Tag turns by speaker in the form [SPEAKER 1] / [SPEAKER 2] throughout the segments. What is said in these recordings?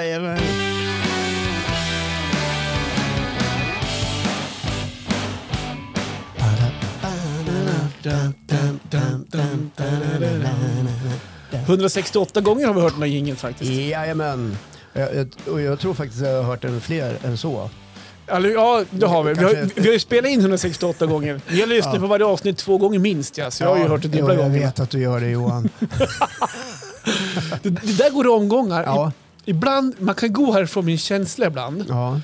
[SPEAKER 1] Jajamän.
[SPEAKER 2] Ja. 168 gånger har vi hört den här jingeln faktiskt.
[SPEAKER 1] Jajamän. Jag, jag, och jag tror faktiskt jag har hört den fler än så.
[SPEAKER 2] Alltså, ja, det har vi. Vi har,
[SPEAKER 1] Kanske-
[SPEAKER 2] vi har ju spelat in 168 gånger. Jag lyssnar
[SPEAKER 1] Ja.
[SPEAKER 2] på varje avsnitt två gånger minst. Ja, så jag har ju hört det dubbla
[SPEAKER 1] jo, Jag
[SPEAKER 2] gånger.
[SPEAKER 1] vet att du gör det Johan.
[SPEAKER 2] Det, det där går i omgångar.
[SPEAKER 1] Ja.
[SPEAKER 2] I- Ibland, man kan gå härifrån med en känsla ibland.
[SPEAKER 1] ja.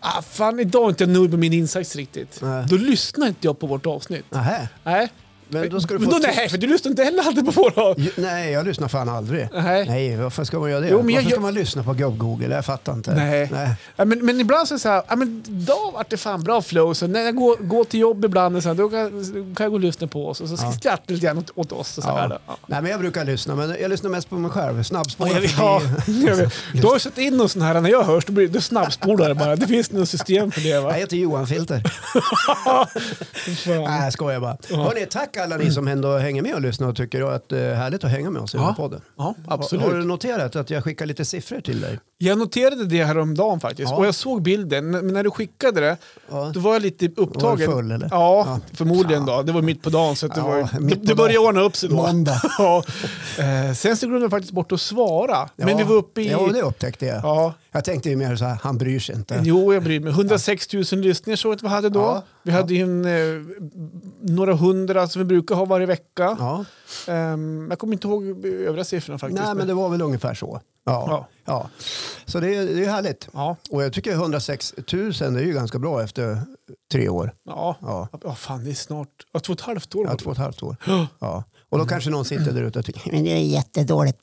[SPEAKER 2] Ah, fan, idag är inte jag nöjd med min insats riktigt.
[SPEAKER 1] Nej.
[SPEAKER 2] Då lyssnar inte jag på vårt avsnitt.
[SPEAKER 1] Nähä.
[SPEAKER 2] Nej.
[SPEAKER 1] Men då ska du få...
[SPEAKER 2] Men då,
[SPEAKER 1] ett tips. Mm.
[SPEAKER 2] nej, för du lyssnar inte heller alltid på våra...
[SPEAKER 1] Ju- Nej, jag lyssnar fan aldrig.
[SPEAKER 2] Nej.
[SPEAKER 1] Nej, varför ska man göra det?
[SPEAKER 2] Jo, men jag-
[SPEAKER 1] varför ska
[SPEAKER 2] jag-
[SPEAKER 1] man lyssna på gubb-Google? Jag fattar inte.
[SPEAKER 2] Nej. Ja, men, men ibland så är det så här, ja, men idag vart det fan bra flow. Så när jag går, går till jobb ibland, och så här, då kan, kan jag gå och lyssna på oss och så
[SPEAKER 1] Ja.
[SPEAKER 2] skrattar jag lite grann åt, åt oss. Och så här,
[SPEAKER 1] Ja.
[SPEAKER 2] då. ja.
[SPEAKER 1] Nej, men jag brukar lyssna, men jag lyssnar mest på mig själv. Snabbspår
[SPEAKER 2] Ja, jag vet, ja,
[SPEAKER 1] förbi.
[SPEAKER 2] jag vet. Du har ju satt in någon sån här, när jag hörs då, blir, då snabbspolar det bara. Det finns något system för det va?
[SPEAKER 1] Jag heter Johan Filter. Nej,
[SPEAKER 2] Fan.
[SPEAKER 1] jag skojar bara. Hörrni, tack alla ni som ändå hänger med och lyssnar och tycker att det är härligt att hänga med oss i den här podden.
[SPEAKER 2] Ja, absolut.
[SPEAKER 1] Har, har du noterat att jag skickar lite siffror till dig?
[SPEAKER 2] Jag noterade det häromdagen faktiskt
[SPEAKER 1] Ja.
[SPEAKER 2] och jag såg bilden. Men när du skickade det,
[SPEAKER 1] Ja.
[SPEAKER 2] då var jag lite
[SPEAKER 1] Var du
[SPEAKER 2] upptagen.
[SPEAKER 1] full, eller?
[SPEAKER 2] Ja, förmodligen då. Det var mitt på dagen så att det,
[SPEAKER 1] Ja,
[SPEAKER 2] var, ju-
[SPEAKER 1] mitt
[SPEAKER 2] det,
[SPEAKER 1] på
[SPEAKER 2] det började
[SPEAKER 1] dagen.
[SPEAKER 2] ordna upp sig då.
[SPEAKER 1] Måndag.
[SPEAKER 2] ja. eh, sen så glömde jag faktiskt bort att svara. Men
[SPEAKER 1] Ja.
[SPEAKER 2] vi var uppe i...
[SPEAKER 1] Ja, det upptäckte jag.
[SPEAKER 2] Ja.
[SPEAKER 1] Jag tänkte ju mer så här, han bryr sig inte.
[SPEAKER 2] Jo, jag bryr mig. 106 000 lyssningar såg jag att vi hade då.
[SPEAKER 1] Ja.
[SPEAKER 2] Vi hade ju en, eh, några hundra som vi brukar ha varje vecka.
[SPEAKER 1] Ja.
[SPEAKER 2] Ehm, jag kommer inte ihåg övriga siffrorna faktiskt.
[SPEAKER 1] Nej, men det var väl ungefär så. Ja.
[SPEAKER 2] Ja.
[SPEAKER 1] ja. Så det är, det är härligt.
[SPEAKER 2] Ja,
[SPEAKER 1] Och jag tycker 106 000 det är ju ganska bra efter tre år.
[SPEAKER 2] ja. ja.
[SPEAKER 1] Ja,
[SPEAKER 2] fan, det är snart... Ja, två och ett halvt år.
[SPEAKER 1] ja två och ett halvt år. Ja. Och då kanske någon sitter där ute och tycker
[SPEAKER 3] Men det är jättedåligt.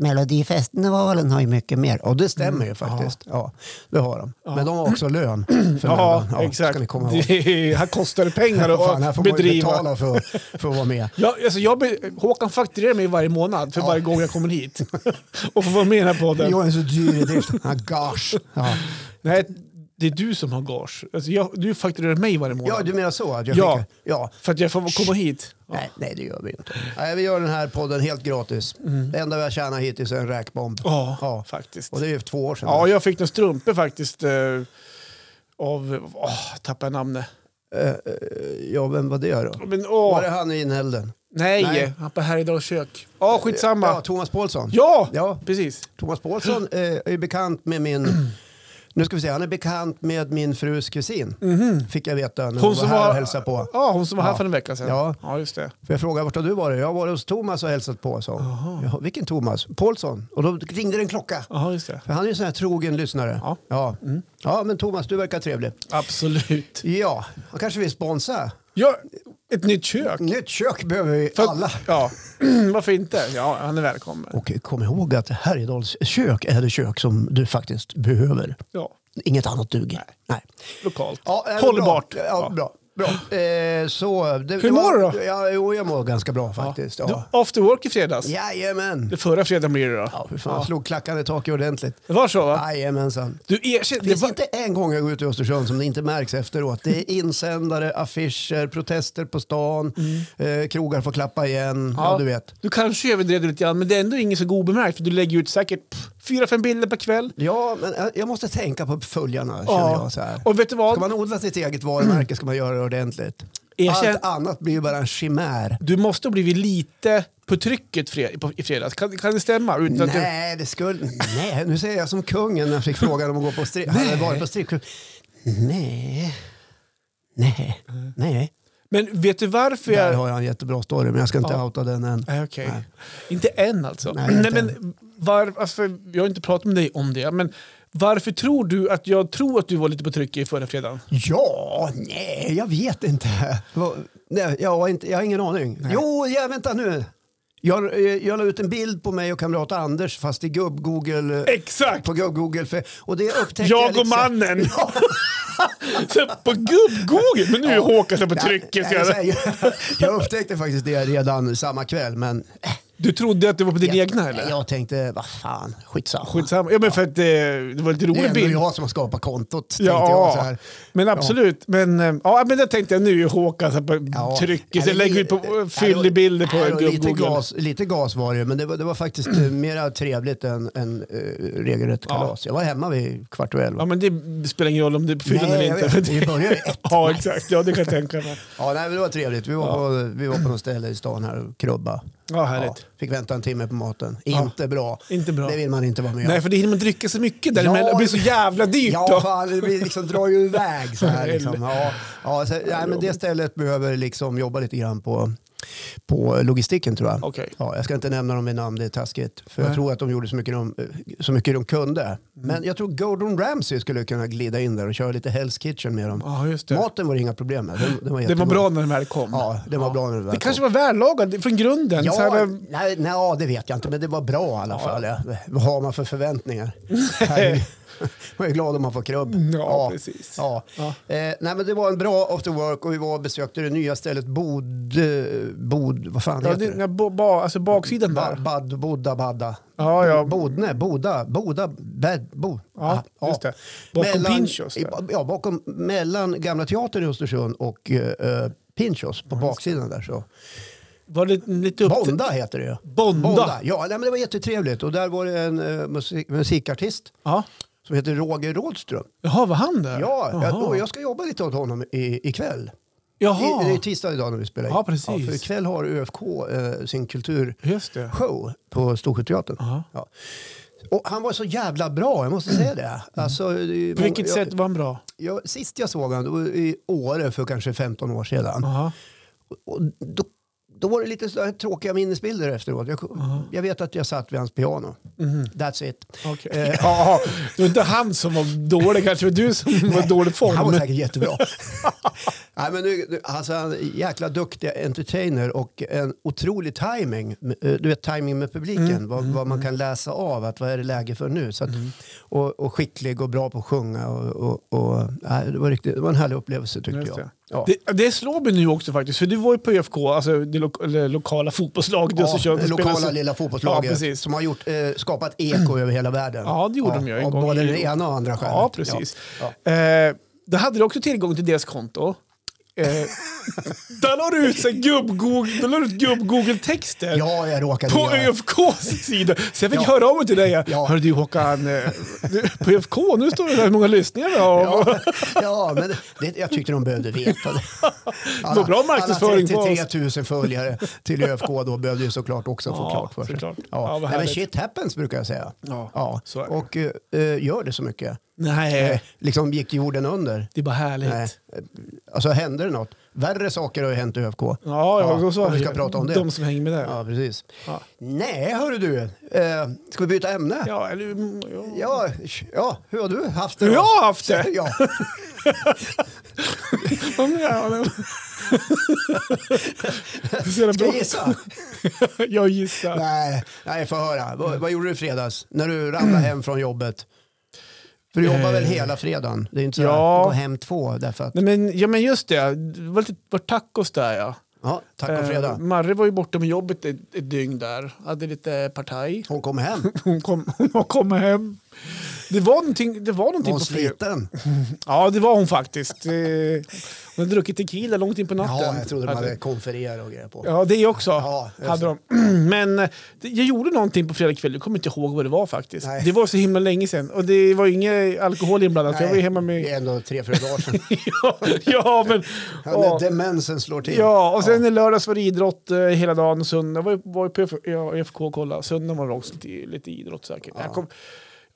[SPEAKER 3] Melodifestivalen har ju mycket mer.
[SPEAKER 1] Ja, det stämmer
[SPEAKER 2] Mm.
[SPEAKER 1] ju faktiskt. Ja, det har de. Men de har också lön. För
[SPEAKER 2] Ja,
[SPEAKER 1] mellan.
[SPEAKER 2] exakt.
[SPEAKER 1] Ska ni komma ihåg.
[SPEAKER 2] det här kostar det pengar att
[SPEAKER 1] Fan, här får man ju
[SPEAKER 2] bedriva.
[SPEAKER 1] betala för, för att vara med.
[SPEAKER 2] Ja, alltså jag be, Håkan fakturerar mig varje månad för varje gång jag kommer hit. och får vara med i den här podden.
[SPEAKER 1] Jag är så dyr i drift. Ja, gosh. Ja.
[SPEAKER 2] Nej, det är du som har gage. Alltså jag, du fakturerar mig varje månad.
[SPEAKER 1] ja, du menar så? Att jag
[SPEAKER 2] Ja.
[SPEAKER 1] skickar- ja.
[SPEAKER 2] För att jag får komma hit.
[SPEAKER 1] Nej, nej, det gör vi inte. Nej, vi gör den här podden helt gratis. Det enda vi har tjänat hittills är en räkbomb.
[SPEAKER 2] Mm. Ja,
[SPEAKER 1] Ja.
[SPEAKER 2] faktiskt.
[SPEAKER 1] Och det är ju två år sedan.
[SPEAKER 2] Ja, jag fick en strumpa faktiskt. Eh, av, åh, tappade jag namnet.
[SPEAKER 1] Ja, vem var det då?
[SPEAKER 2] Men, åh,
[SPEAKER 1] Var det han i inhälden?
[SPEAKER 2] nej,
[SPEAKER 1] Nej.
[SPEAKER 2] han på Härjedals kök. Ja, skitsamma.
[SPEAKER 1] Ja,
[SPEAKER 2] Ja,
[SPEAKER 1] Thomas Paulsson. Ja.
[SPEAKER 2] precis.
[SPEAKER 1] Thomas Paulsson eh, är ju bekant med min... Nu ska vi se, han är bekant med min frus kusin. Fick jag veta när Mhm. hon, var här och hälsade på.
[SPEAKER 2] Ja, hon som var här
[SPEAKER 1] Ja.
[SPEAKER 2] för en vecka sedan.
[SPEAKER 1] Ja.
[SPEAKER 2] just det.
[SPEAKER 1] För jag frågade vart har du varit? Jag har varit hos Thomas och hälsat på, sa hon. Ja, vilken Thomas? Paulsson. Och då ringde det en klocka.
[SPEAKER 2] Ja, just det.
[SPEAKER 1] För han är ju en sån här trogen lyssnare.
[SPEAKER 2] Ja.
[SPEAKER 1] Ja. Mm. ja, men Thomas, du verkar trevlig.
[SPEAKER 2] Absolut.
[SPEAKER 1] Ja, han kanske vill sponsra.
[SPEAKER 2] Ja, ett nytt kök.
[SPEAKER 1] Nytt kök behöver vi
[SPEAKER 2] För-
[SPEAKER 1] alla.
[SPEAKER 2] Ja, varför inte? Ja, han är välkommen.
[SPEAKER 1] Och kom ihåg att Härjedals kök är det kök som du faktiskt behöver.
[SPEAKER 2] Ja,
[SPEAKER 1] Inget annat duger. Nej.
[SPEAKER 2] lokalt.
[SPEAKER 1] Ja, eh,
[SPEAKER 2] Hållbart.
[SPEAKER 1] Bra.
[SPEAKER 2] Ja.
[SPEAKER 1] Ja, bra. bra. Eh, så, det,
[SPEAKER 2] Hur mår du då?
[SPEAKER 1] Ja, jo, jag mår ganska bra faktiskt. Ja.
[SPEAKER 2] Du, After work i fredags.
[SPEAKER 1] Jajamän.
[SPEAKER 2] Det förra fredagen blir det då.
[SPEAKER 1] Ja, hur fan, jag slog klackarna i taket ordentligt.
[SPEAKER 2] Det var så va?
[SPEAKER 1] Jajamensan.
[SPEAKER 2] Du erkänner...
[SPEAKER 1] Det
[SPEAKER 2] Det
[SPEAKER 1] finns
[SPEAKER 2] var...
[SPEAKER 1] inte en gång jag går ut i Östersund som det inte märks efteråt. Det är insändare, affischer, protester på stan,
[SPEAKER 2] Mm.
[SPEAKER 1] eh, krogar får klappa igen. Ja, du vet.
[SPEAKER 2] Du kanske överdrev det lite grann, men det är ändå ingen så god obemärkt för du lägger ut säkert pff, fyra, fem bilder per kväll.
[SPEAKER 1] Ja, men eh, jag måste tänka på följarna känner jag så här.
[SPEAKER 2] Och vet du vad?
[SPEAKER 1] Ska man odla sitt eget varumärke ska man göra det ordentligt.
[SPEAKER 2] Erkänn-
[SPEAKER 1] Allt annat blir ju bara en chimär.
[SPEAKER 2] Du måste ha blivit lite på trycket fred... på- i fredags. Kan, kan det stämma? Utan att du...
[SPEAKER 1] Nej, det skulle... Nej, nu säger jag som kungen när jag fick frågan om att gå på strip... Han hade varit på strippklubb. Nej. Nej. Nej.
[SPEAKER 2] Men vet du varför jag...
[SPEAKER 1] Där har jag en jättebra story, men jag ska inte outa den än.
[SPEAKER 2] Nej, okej.
[SPEAKER 1] Nej.
[SPEAKER 2] Inte än alltså.
[SPEAKER 1] Nej,
[SPEAKER 2] Nej,
[SPEAKER 1] inte
[SPEAKER 2] men var, alltså. Jag har inte pratat med dig om det, men varför tror du att jag tror att du var lite på tryck i förra fredagen?
[SPEAKER 1] Ja, nej, jag vet inte. Vad- Nej, jag, har inte jag har ingen aning. Jo, ja, vänta nu. Jag, eh, jag la ut en bild på mig och kamrat Anders fast i gubb-Google.
[SPEAKER 2] Exakt!
[SPEAKER 1] På gubb-Google. för- Och det upptäckte jag,
[SPEAKER 2] Jag och
[SPEAKER 1] lite så-
[SPEAKER 2] mannen! Så på gubb-Google! Men nu är Håkan så på
[SPEAKER 1] Nej,
[SPEAKER 2] trycket.
[SPEAKER 1] nej,
[SPEAKER 2] så jag-
[SPEAKER 1] jag, jag upptäckte faktiskt det redan samma kväll, men eh,
[SPEAKER 2] Du trodde att det var på din
[SPEAKER 1] Jag-
[SPEAKER 2] egna eller?
[SPEAKER 1] Jag tänkte, vad fan, skitsamma.
[SPEAKER 2] Skitsamma. Ja, men för att eh, det var
[SPEAKER 1] Det
[SPEAKER 2] lite
[SPEAKER 1] är
[SPEAKER 2] rolig
[SPEAKER 1] ändå
[SPEAKER 2] bild.
[SPEAKER 1] jag som har skapat kontot, tänkte jag. Så
[SPEAKER 2] Ja,
[SPEAKER 1] här.
[SPEAKER 2] men absolut. Men, eh, ja, men det tänkte jag nu, Håkan, så här på
[SPEAKER 1] Ja.
[SPEAKER 2] trycket. Jag
[SPEAKER 1] Ja, det-
[SPEAKER 2] lägger ut på,
[SPEAKER 1] det-
[SPEAKER 2] fyller bilder på
[SPEAKER 1] ja, det var lite
[SPEAKER 2] Google.
[SPEAKER 1] gas, lite gas var det, men det var, det var faktiskt eh, mera trevligt än, än eh, regelrätt kalas. Jag var hemma vid kvart över elva.
[SPEAKER 2] Ja, men det spelar ingen roll om du fyller den
[SPEAKER 1] Nej,
[SPEAKER 2] eller
[SPEAKER 1] jag
[SPEAKER 2] inte.
[SPEAKER 1] vet.
[SPEAKER 2] för det-
[SPEAKER 1] Vi börjar vid ett.
[SPEAKER 2] Ja, exakt. Ja, det kan jag tänka mig.
[SPEAKER 1] Ja, nej, men det var trevligt. Vi var, på, vi var på något ställe i stan här och krubba.
[SPEAKER 2] Ja, härligt.
[SPEAKER 1] fick vänta en timme på maten. Inte bra.
[SPEAKER 2] Inte bra.
[SPEAKER 1] Det vill man inte vara med om.
[SPEAKER 2] Nej, för det hinner man dricka så mycket däremellan.
[SPEAKER 1] Ja,
[SPEAKER 2] det blir så jävla dyrt
[SPEAKER 1] Ja,
[SPEAKER 2] då.
[SPEAKER 1] fan, det blir liksom, drar ju iväg så här. Liksom. Ja, ja, så, nej, men det stället behöver liksom jobba lite grann på, på logistiken tror jag.
[SPEAKER 2] Okej.
[SPEAKER 1] Ja, jag ska inte nämna dem i namn, det är taskigt. För jag tror att de gjorde så mycket de, så mycket de
[SPEAKER 2] Mm.
[SPEAKER 1] kunde. Men jag tror Gordon Ramsay skulle kunna glida in där och köra lite Hell's Kitchen med dem.
[SPEAKER 2] Ja, just det.
[SPEAKER 1] Maten var det inga problem med. Den, den var
[SPEAKER 2] Den var
[SPEAKER 1] jättegod.
[SPEAKER 2] bra när den väl kom.
[SPEAKER 1] Ja, den var bra när den väl
[SPEAKER 2] Det kanske
[SPEAKER 1] kom.
[SPEAKER 2] var vällagad från grunden. Så
[SPEAKER 1] Ja,
[SPEAKER 2] här,
[SPEAKER 1] nej, nej, det vet jag inte, men det var bra i alla fall. Ja. Vad har man för förväntningar? man är glad om man får krubb.
[SPEAKER 2] Ja, precis.
[SPEAKER 1] Ja.
[SPEAKER 2] Ja.
[SPEAKER 1] Eh, nej, men det var en bra after work och vi var och besökte det nya stället Bod... eh, bod vad fan
[SPEAKER 2] ja,
[SPEAKER 1] heter
[SPEAKER 2] det,
[SPEAKER 1] det?
[SPEAKER 2] ja, bo- ba, alltså baksidan
[SPEAKER 1] Ba,
[SPEAKER 2] där.
[SPEAKER 1] bad, bodda, badda.
[SPEAKER 2] Ja, ja.
[SPEAKER 1] Bodne, Boda, Boda, bad, bo.
[SPEAKER 2] Ja, just det. Bakom Pinchos där.
[SPEAKER 1] i- Ja, bakom, mellan Gamla Teatern i Östersund och eh, eh, Pinchos på baksidan där. Så.
[SPEAKER 2] Var det lite upp...
[SPEAKER 1] Bonda heter det ju.
[SPEAKER 2] Bonda.
[SPEAKER 1] Ja, nej, men det var jättetrevligt. Och där var det en eh, musik, musikartist
[SPEAKER 2] Ja.
[SPEAKER 1] som heter Roger Rådström.
[SPEAKER 2] Jaha, var han där?
[SPEAKER 1] Ja, jag,
[SPEAKER 2] Jaha.
[SPEAKER 1] och jag ska jobba lite åt honom i, ikväll. I,
[SPEAKER 2] Jaha.
[SPEAKER 1] det är tisdag idag när vi spelar in.
[SPEAKER 2] Ja, precis.
[SPEAKER 1] för ikväll har ÖFK eh, sin kulturshow
[SPEAKER 2] Just det.
[SPEAKER 1] på Storsjöteatern.
[SPEAKER 2] Aha.
[SPEAKER 1] Ja. Och han var så jävla bra, jag måste säga det. Alltså, det är ju
[SPEAKER 2] På vilket
[SPEAKER 1] många- jag,
[SPEAKER 2] sätt var han bra?
[SPEAKER 1] Jag, sist jag såg honom i Åre för kanske 15 år sedan.
[SPEAKER 2] Jaha.
[SPEAKER 1] Och då, då var det lite sådär tråkiga minnesbilder efteråt. Jag, jag vet att jag satt vid hans piano.
[SPEAKER 2] Mhm.
[SPEAKER 1] That's it.
[SPEAKER 2] Okej.
[SPEAKER 1] Eh,
[SPEAKER 2] Ja, det var inte han som var dålig kanske, det var du som var i dålig form.
[SPEAKER 1] Han var säkert jättebra. Nej, men nu, nu- alltså, han är en jäkla duktig entertainer och en otrolig timing. Eh, Du vet timing med publiken,
[SPEAKER 2] Mm.
[SPEAKER 1] vad, vad man kan läsa av, att vad är det läge för nu? Så att, och, och skicklig och bra på att sjunga. Och, och, och, nej, det, var riktigt, det var en härlig upplevelse tyckte
[SPEAKER 2] Just
[SPEAKER 1] jag.
[SPEAKER 2] det.
[SPEAKER 1] Ja.
[SPEAKER 2] Det, det slår mig nu också faktiskt, för du var ju på ÖFK, alltså det lo- eller lokala fotbollslaget.
[SPEAKER 1] Ja,
[SPEAKER 2] och så körde-
[SPEAKER 1] det
[SPEAKER 2] spelade
[SPEAKER 1] lokala
[SPEAKER 2] så-
[SPEAKER 1] lilla fotbollslaget
[SPEAKER 2] Ja, precis.
[SPEAKER 1] som har gjort, eh, skapat eko över hela världen.
[SPEAKER 2] Ja, det gjorde de ju en
[SPEAKER 1] av
[SPEAKER 2] gång
[SPEAKER 1] Både
[SPEAKER 2] i-
[SPEAKER 1] den ena och andra
[SPEAKER 2] ja,
[SPEAKER 1] stjärnan.
[SPEAKER 2] precis.
[SPEAKER 1] Ja.
[SPEAKER 2] Eh, då hade du också tillgång till deras konto. Eh, där la du ut så här gubb-Google- där la du ut gubb-Google-texter.
[SPEAKER 1] Ja, jag råkade
[SPEAKER 2] På
[SPEAKER 1] göra.
[SPEAKER 2] ÖFKs sida. Så jag fick höra av mig till dig. Ja. Hörru du Håkan, eh, du, på ÖFK, nu står det där hur många lyssningar vi har.
[SPEAKER 1] Ja, ja, men det, jag tyckte de behövde veta det.
[SPEAKER 2] Det var bra marknadsföring på
[SPEAKER 1] alla
[SPEAKER 2] oss.
[SPEAKER 1] 33 000 följare till ÖFK då behövde ju såklart också få
[SPEAKER 2] Ja,
[SPEAKER 1] klart för sig.
[SPEAKER 2] såklart. Ja,
[SPEAKER 1] Ja. Nej,
[SPEAKER 2] vad
[SPEAKER 1] men
[SPEAKER 2] härligt.
[SPEAKER 1] shit happens brukar jag säga.
[SPEAKER 2] Ja, så är det.
[SPEAKER 1] Och eh, eh, gör det så mycket. Eh,
[SPEAKER 2] Nej,
[SPEAKER 1] liksom gick jorden under.
[SPEAKER 2] det är bara härligt.
[SPEAKER 1] Nej. Alltså hände det något? Värre saker har ju hänt i ÖFK.
[SPEAKER 2] Ja, ja, så, så
[SPEAKER 1] om vi ska prata om det.
[SPEAKER 2] De som hänger med där. Ja,
[SPEAKER 1] Ja, precis.
[SPEAKER 2] Ja.
[SPEAKER 1] Nej, hörru du. Eh, ska vi byta ämne? Ja.
[SPEAKER 2] eller... mm, Ja.
[SPEAKER 1] Ja, hur har du haft det?
[SPEAKER 2] Hur
[SPEAKER 1] då?
[SPEAKER 2] jag har haft det?
[SPEAKER 1] Ja,
[SPEAKER 2] Ja, men, ja, men. Så jävla
[SPEAKER 1] ska
[SPEAKER 2] bra.
[SPEAKER 1] jag gissa?
[SPEAKER 2] Jag gissar.
[SPEAKER 1] Nej, nej få höra.
[SPEAKER 2] Mm.
[SPEAKER 1] Vad, vad gjorde du i fredags när du ramlade hem från jobbet? För du jobbar väl hela fredagen? Det är inte så
[SPEAKER 2] Eh. Ja.
[SPEAKER 1] att gå hem två därför att...
[SPEAKER 2] Nej, men, ja, men just det. Det var, lite, var tacos där ja.
[SPEAKER 1] Ja, tack och
[SPEAKER 2] Eh,
[SPEAKER 1] fredag.
[SPEAKER 2] Marre var ju borta med jobbet ett, ett dygn där. Hade lite partaj.
[SPEAKER 1] Hon kom hem.
[SPEAKER 2] Hon kom, hon kom hem. Det var någonting, det var någonting
[SPEAKER 1] Hon
[SPEAKER 2] på fredag.
[SPEAKER 1] sliten.
[SPEAKER 2] Ja, det var hon faktiskt. Eh, Hon hade druckit tequila långt in på natten.
[SPEAKER 1] Ja, jag trodde de hade konfererat och grejer på.
[SPEAKER 2] Ja, det också.
[SPEAKER 1] Ja, just
[SPEAKER 2] hade de. Men eh, det- jag gjorde någonting på fredag kväll, jag kommer inte ihåg vad det var faktiskt.
[SPEAKER 1] Nej.
[SPEAKER 2] Det var så himla länge sedan och det var ju ingen alkohol inblandat. Jag var ju hemma
[SPEAKER 1] Det
[SPEAKER 2] med...
[SPEAKER 1] är ändå tre, fyra dagar sedan.
[SPEAKER 2] ja, ja, men...
[SPEAKER 1] Ja,
[SPEAKER 2] ja.
[SPEAKER 1] när demensen slår till.
[SPEAKER 2] Ja, och sen i lördags var det idrott eh, hela dagen. Söndag var ju- var ju på F- ja, FK och kollade. Söndag var det också lite, lite idrott säkert. Jag kom, ja,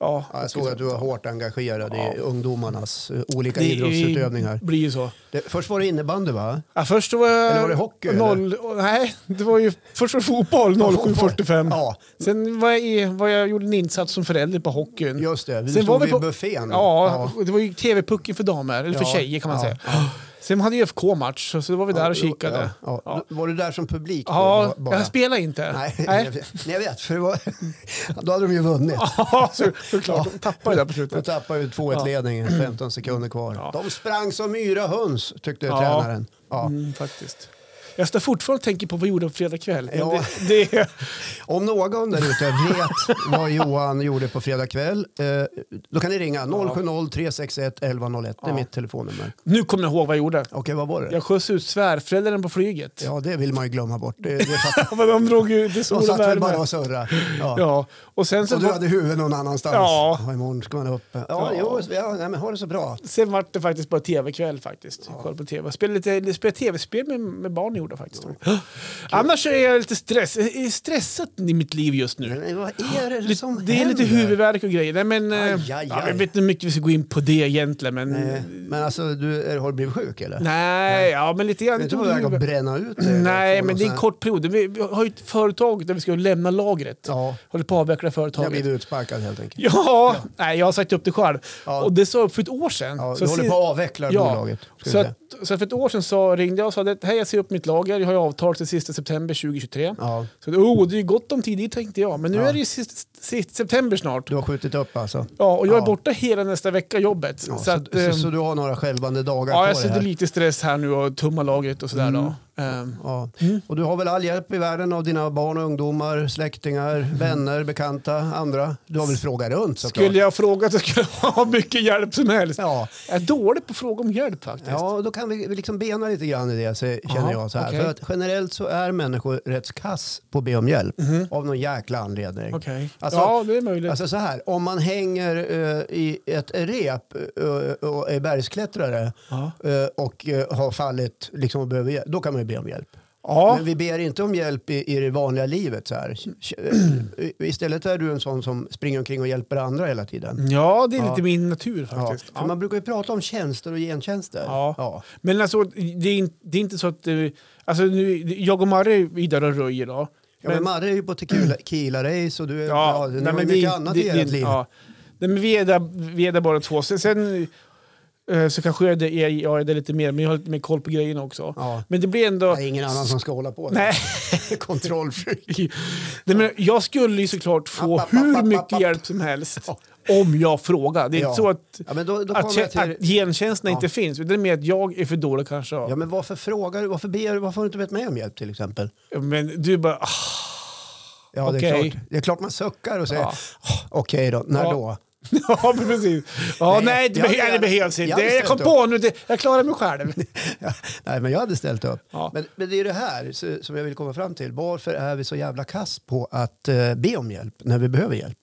[SPEAKER 1] Ja, jag såg att du var hårt engagerad
[SPEAKER 2] Ja.
[SPEAKER 1] i ungdomarnas eh, olika
[SPEAKER 2] det är-
[SPEAKER 1] idrottsutövningar.
[SPEAKER 2] blir ju så.
[SPEAKER 1] Det, först var det innebandy va?
[SPEAKER 2] Ja, först var jag...
[SPEAKER 1] Eller var det hockey,
[SPEAKER 2] Noll, nej, det var ju först var det fotboll 07.45.
[SPEAKER 1] Ja,
[SPEAKER 2] Sen var jag, i, var jag gjorde en insats som förälder på hockeyn.
[SPEAKER 1] just det. Du
[SPEAKER 2] Sen
[SPEAKER 1] stod
[SPEAKER 2] var vi
[SPEAKER 1] vid
[SPEAKER 2] på-
[SPEAKER 1] buffén.
[SPEAKER 2] Ja, det var ju TV-pucken för damer, eller för
[SPEAKER 1] Ja,
[SPEAKER 2] tjejer kan man
[SPEAKER 1] ja,
[SPEAKER 2] säga. Sen hade ju FK match, så så då var vi där och kikade.
[SPEAKER 1] Ja, ja.
[SPEAKER 2] Ja.
[SPEAKER 1] Var du där som publik? då,
[SPEAKER 2] Ja,
[SPEAKER 1] bara?
[SPEAKER 2] jag spelade inte.
[SPEAKER 1] Nej, jag vet- nej, jag vet. För det var, då hade de ju vunnit.
[SPEAKER 2] Ja, så, såklart. De tappade det där på
[SPEAKER 1] De
[SPEAKER 2] slutet.
[SPEAKER 1] tappade ju 2-1-ledningen, 15 sekunder kvar.
[SPEAKER 2] Ja.
[SPEAKER 1] De sprang som yra höns, tyckte
[SPEAKER 2] Ja.
[SPEAKER 1] tränaren. Ja.
[SPEAKER 2] Mm, faktiskt. Jag står fortfarande och tänker på vad jag gjorde på fredag kväll. Men
[SPEAKER 1] Ja.
[SPEAKER 2] Det, det,
[SPEAKER 1] Om någon där ute vet vad Johan gjorde på fredag kväll, eh, då kan ni ringa 070-361 1101. Det är
[SPEAKER 2] Ja.
[SPEAKER 1] mitt telefonnummer.
[SPEAKER 2] nu kommer jag ihåg vad jag gjorde.
[SPEAKER 1] Okej, vad var det?
[SPEAKER 2] Jag skjuts ut svärföräldern på flyget.
[SPEAKER 1] Ja, det vill man ju glömma bort. Det, det fattar
[SPEAKER 2] Men De drog ju
[SPEAKER 1] jag.
[SPEAKER 2] till
[SPEAKER 1] De
[SPEAKER 2] sol och
[SPEAKER 1] satt väl bara
[SPEAKER 2] värme.
[SPEAKER 1] och surrade. Ja.
[SPEAKER 2] Ja, och sen så...
[SPEAKER 1] Och du hade huvudet någon annanstans.
[SPEAKER 2] Ja.
[SPEAKER 1] imorgon ska man upp. Ja,
[SPEAKER 2] Ja.
[SPEAKER 1] Jo, ja nej, men ha det så bra.
[SPEAKER 2] Sen var det faktiskt bara tv-kväll faktiskt. Jag kollade på tv. Spelade lite spelade tv-spel med, med barn gjorde jag faktiskt. Annars är jag lite stress, är stressat i mitt liv just nu.
[SPEAKER 1] Men vad är det som
[SPEAKER 2] det är lite
[SPEAKER 1] händer?
[SPEAKER 2] huvudvärk och grejer. Nej, men, eh,
[SPEAKER 1] Aj, aj, aj.
[SPEAKER 2] Ja, jag vet inte hur mycket vi ska gå in på det egentligen. Men,
[SPEAKER 1] Eh, Men alltså, du, är, har du blivit sjuk eller?
[SPEAKER 2] nej, ja, men lite
[SPEAKER 1] Du är
[SPEAKER 2] grann.
[SPEAKER 1] inte på väg att bränna ut dig? eller
[SPEAKER 2] Nej,
[SPEAKER 1] få
[SPEAKER 2] men
[SPEAKER 1] någon
[SPEAKER 2] det är
[SPEAKER 1] sån
[SPEAKER 2] en
[SPEAKER 1] här-
[SPEAKER 2] kort period. Vi, vi har ju ett företag där vi ska lämna lagret.
[SPEAKER 1] Ja,
[SPEAKER 2] Håller på att avveckla
[SPEAKER 1] jag har
[SPEAKER 2] företaget.
[SPEAKER 1] blivit utsparkad helt enkelt.
[SPEAKER 2] Ja, Nej, jag har sagt upp det själv.
[SPEAKER 1] Ja.
[SPEAKER 2] Och det sa jag upp för ett år sedan.
[SPEAKER 1] Ja,
[SPEAKER 2] Så
[SPEAKER 1] du
[SPEAKER 2] jag
[SPEAKER 1] håller
[SPEAKER 2] ser-
[SPEAKER 1] på att avveckla
[SPEAKER 2] Ja,
[SPEAKER 1] bolaget. ska vi
[SPEAKER 2] Så,
[SPEAKER 1] säga.
[SPEAKER 2] att, så för ett år sedan så ringde jag och sa att hej jag ser upp mitt lager, jag har ju avtal till sista september 2023.
[SPEAKER 1] ja,
[SPEAKER 2] Så oh, det är ju gott om tid dit tänkte jag, men nu
[SPEAKER 1] Ja.
[SPEAKER 2] är det ju sist, sist september snart.
[SPEAKER 1] du har skjutit upp alltså?
[SPEAKER 2] Ja, och jag är
[SPEAKER 1] Ja.
[SPEAKER 2] borta hela nästa vecka jobbet.
[SPEAKER 1] Ja,
[SPEAKER 2] så,
[SPEAKER 1] så,
[SPEAKER 2] att,
[SPEAKER 1] så,
[SPEAKER 2] ehm,
[SPEAKER 1] så, du har några skälvande dagar
[SPEAKER 2] ja,
[SPEAKER 1] på
[SPEAKER 2] jag
[SPEAKER 1] dig
[SPEAKER 2] sitter
[SPEAKER 1] här? Mm.
[SPEAKER 2] lite i stress här nu och tummar lagret och sådär. Då. Ehm,
[SPEAKER 1] Ja. Och du har väl all hjälp i världen av dina barn och ungdomar, släktingar, vänner, bekanta, andra? Du har väl frågat runt såklart?
[SPEAKER 2] Mm. skulle jag fråga så skulle jag ha mycket hjälp som helst.
[SPEAKER 1] Ja.
[SPEAKER 2] Jag är dålig på att fråga om hjälp faktiskt.
[SPEAKER 1] Ja, då kan vi vi liksom bena lite grann i det så känner
[SPEAKER 2] Ja,
[SPEAKER 1] jag. Så här.
[SPEAKER 2] okej.
[SPEAKER 1] För att generellt så är människor rätt kass på att be om hjälp av någon jäkla anledning.
[SPEAKER 2] Mhm. Okej.
[SPEAKER 1] Alltså,
[SPEAKER 2] ja, det är möjligt.
[SPEAKER 1] Alltså så här, om man hänger eh, i ett rep eh, och är bergsklättrare
[SPEAKER 2] ja.
[SPEAKER 1] eh, och eh, har fallit liksom, och behöver hjälp, då kan man ju be om hjälp.
[SPEAKER 2] Ja.
[SPEAKER 1] Men vi ber inte om hjälp i, i det vanliga livet. Så här.
[SPEAKER 2] Mm.
[SPEAKER 1] Eh, Istället är du en sån som springer omkring och hjälper andra hela tiden.
[SPEAKER 2] ja, det är
[SPEAKER 1] Ja.
[SPEAKER 2] lite min natur
[SPEAKER 1] Ja,
[SPEAKER 2] Mm, faktiskt.
[SPEAKER 1] för man brukar ju prata om tjänster och gentjänster.
[SPEAKER 2] Ja. Men alltså, det är, in, det är inte så att... eh, Alltså, nu, jag och Marre är vidare och röjer då.
[SPEAKER 1] Ja, men, Marre är ju på Tequila-race och du är, ja, ni har
[SPEAKER 2] nej,
[SPEAKER 1] ju
[SPEAKER 2] men
[SPEAKER 1] mycket
[SPEAKER 2] är-
[SPEAKER 1] annat i
[SPEAKER 2] det-
[SPEAKER 1] ert
[SPEAKER 2] det-
[SPEAKER 1] liv.
[SPEAKER 2] Ja. Nej, men vi är där, vi är där bara två. Sen, sen eh, så kanske jag är, jag, jag är där lite mer, men jag har lite mer koll på grejerna också.
[SPEAKER 1] Ja.
[SPEAKER 2] Men det blir ändå...
[SPEAKER 1] Det är ingen annan som ska hålla på.
[SPEAKER 2] Nej.
[SPEAKER 1] Kontrollfreak.
[SPEAKER 2] Nej, men jag skulle ju såklart få
[SPEAKER 1] App, app, app,
[SPEAKER 2] hur
[SPEAKER 1] app,
[SPEAKER 2] mycket
[SPEAKER 1] app.
[SPEAKER 2] hjälp som helst om jag frågar. Det är
[SPEAKER 1] Ja.
[SPEAKER 2] inte så att,
[SPEAKER 1] Ja, men då, då
[SPEAKER 2] att,
[SPEAKER 1] kommer jag
[SPEAKER 2] kä-
[SPEAKER 1] till...
[SPEAKER 2] att gentjänsterna
[SPEAKER 1] Ja.
[SPEAKER 2] inte finns. utan Det är mer att jag är för dålig kanske.
[SPEAKER 1] Ja, men varför frågar du? Varför ber du? Varför har du inte bett mig om hjälp till exempel?
[SPEAKER 2] Men du bara... ah,
[SPEAKER 1] Ja, det, är
[SPEAKER 2] Okej.
[SPEAKER 1] klart, det är klart man suckar och säger
[SPEAKER 2] Ja.
[SPEAKER 1] "Åh, okej då, när
[SPEAKER 2] Ja.
[SPEAKER 1] då?
[SPEAKER 2] Ja, men precis. Ja,
[SPEAKER 1] Nej,
[SPEAKER 2] nej, det,
[SPEAKER 1] jag-
[SPEAKER 2] behö- nej, det
[SPEAKER 1] jag-
[SPEAKER 2] behövs
[SPEAKER 1] jag
[SPEAKER 2] inte.
[SPEAKER 1] hade
[SPEAKER 2] Jag, kom
[SPEAKER 1] ställt
[SPEAKER 2] på nu, det, jag klarar mig själv.
[SPEAKER 1] Ja, Nej, men jag hade ställt upp.
[SPEAKER 2] Ja.
[SPEAKER 1] Men, men det är det här så- som jag vill komma fram till. Varför är vi så jävla kass på att eh, be om hjälp när vi behöver hjälp?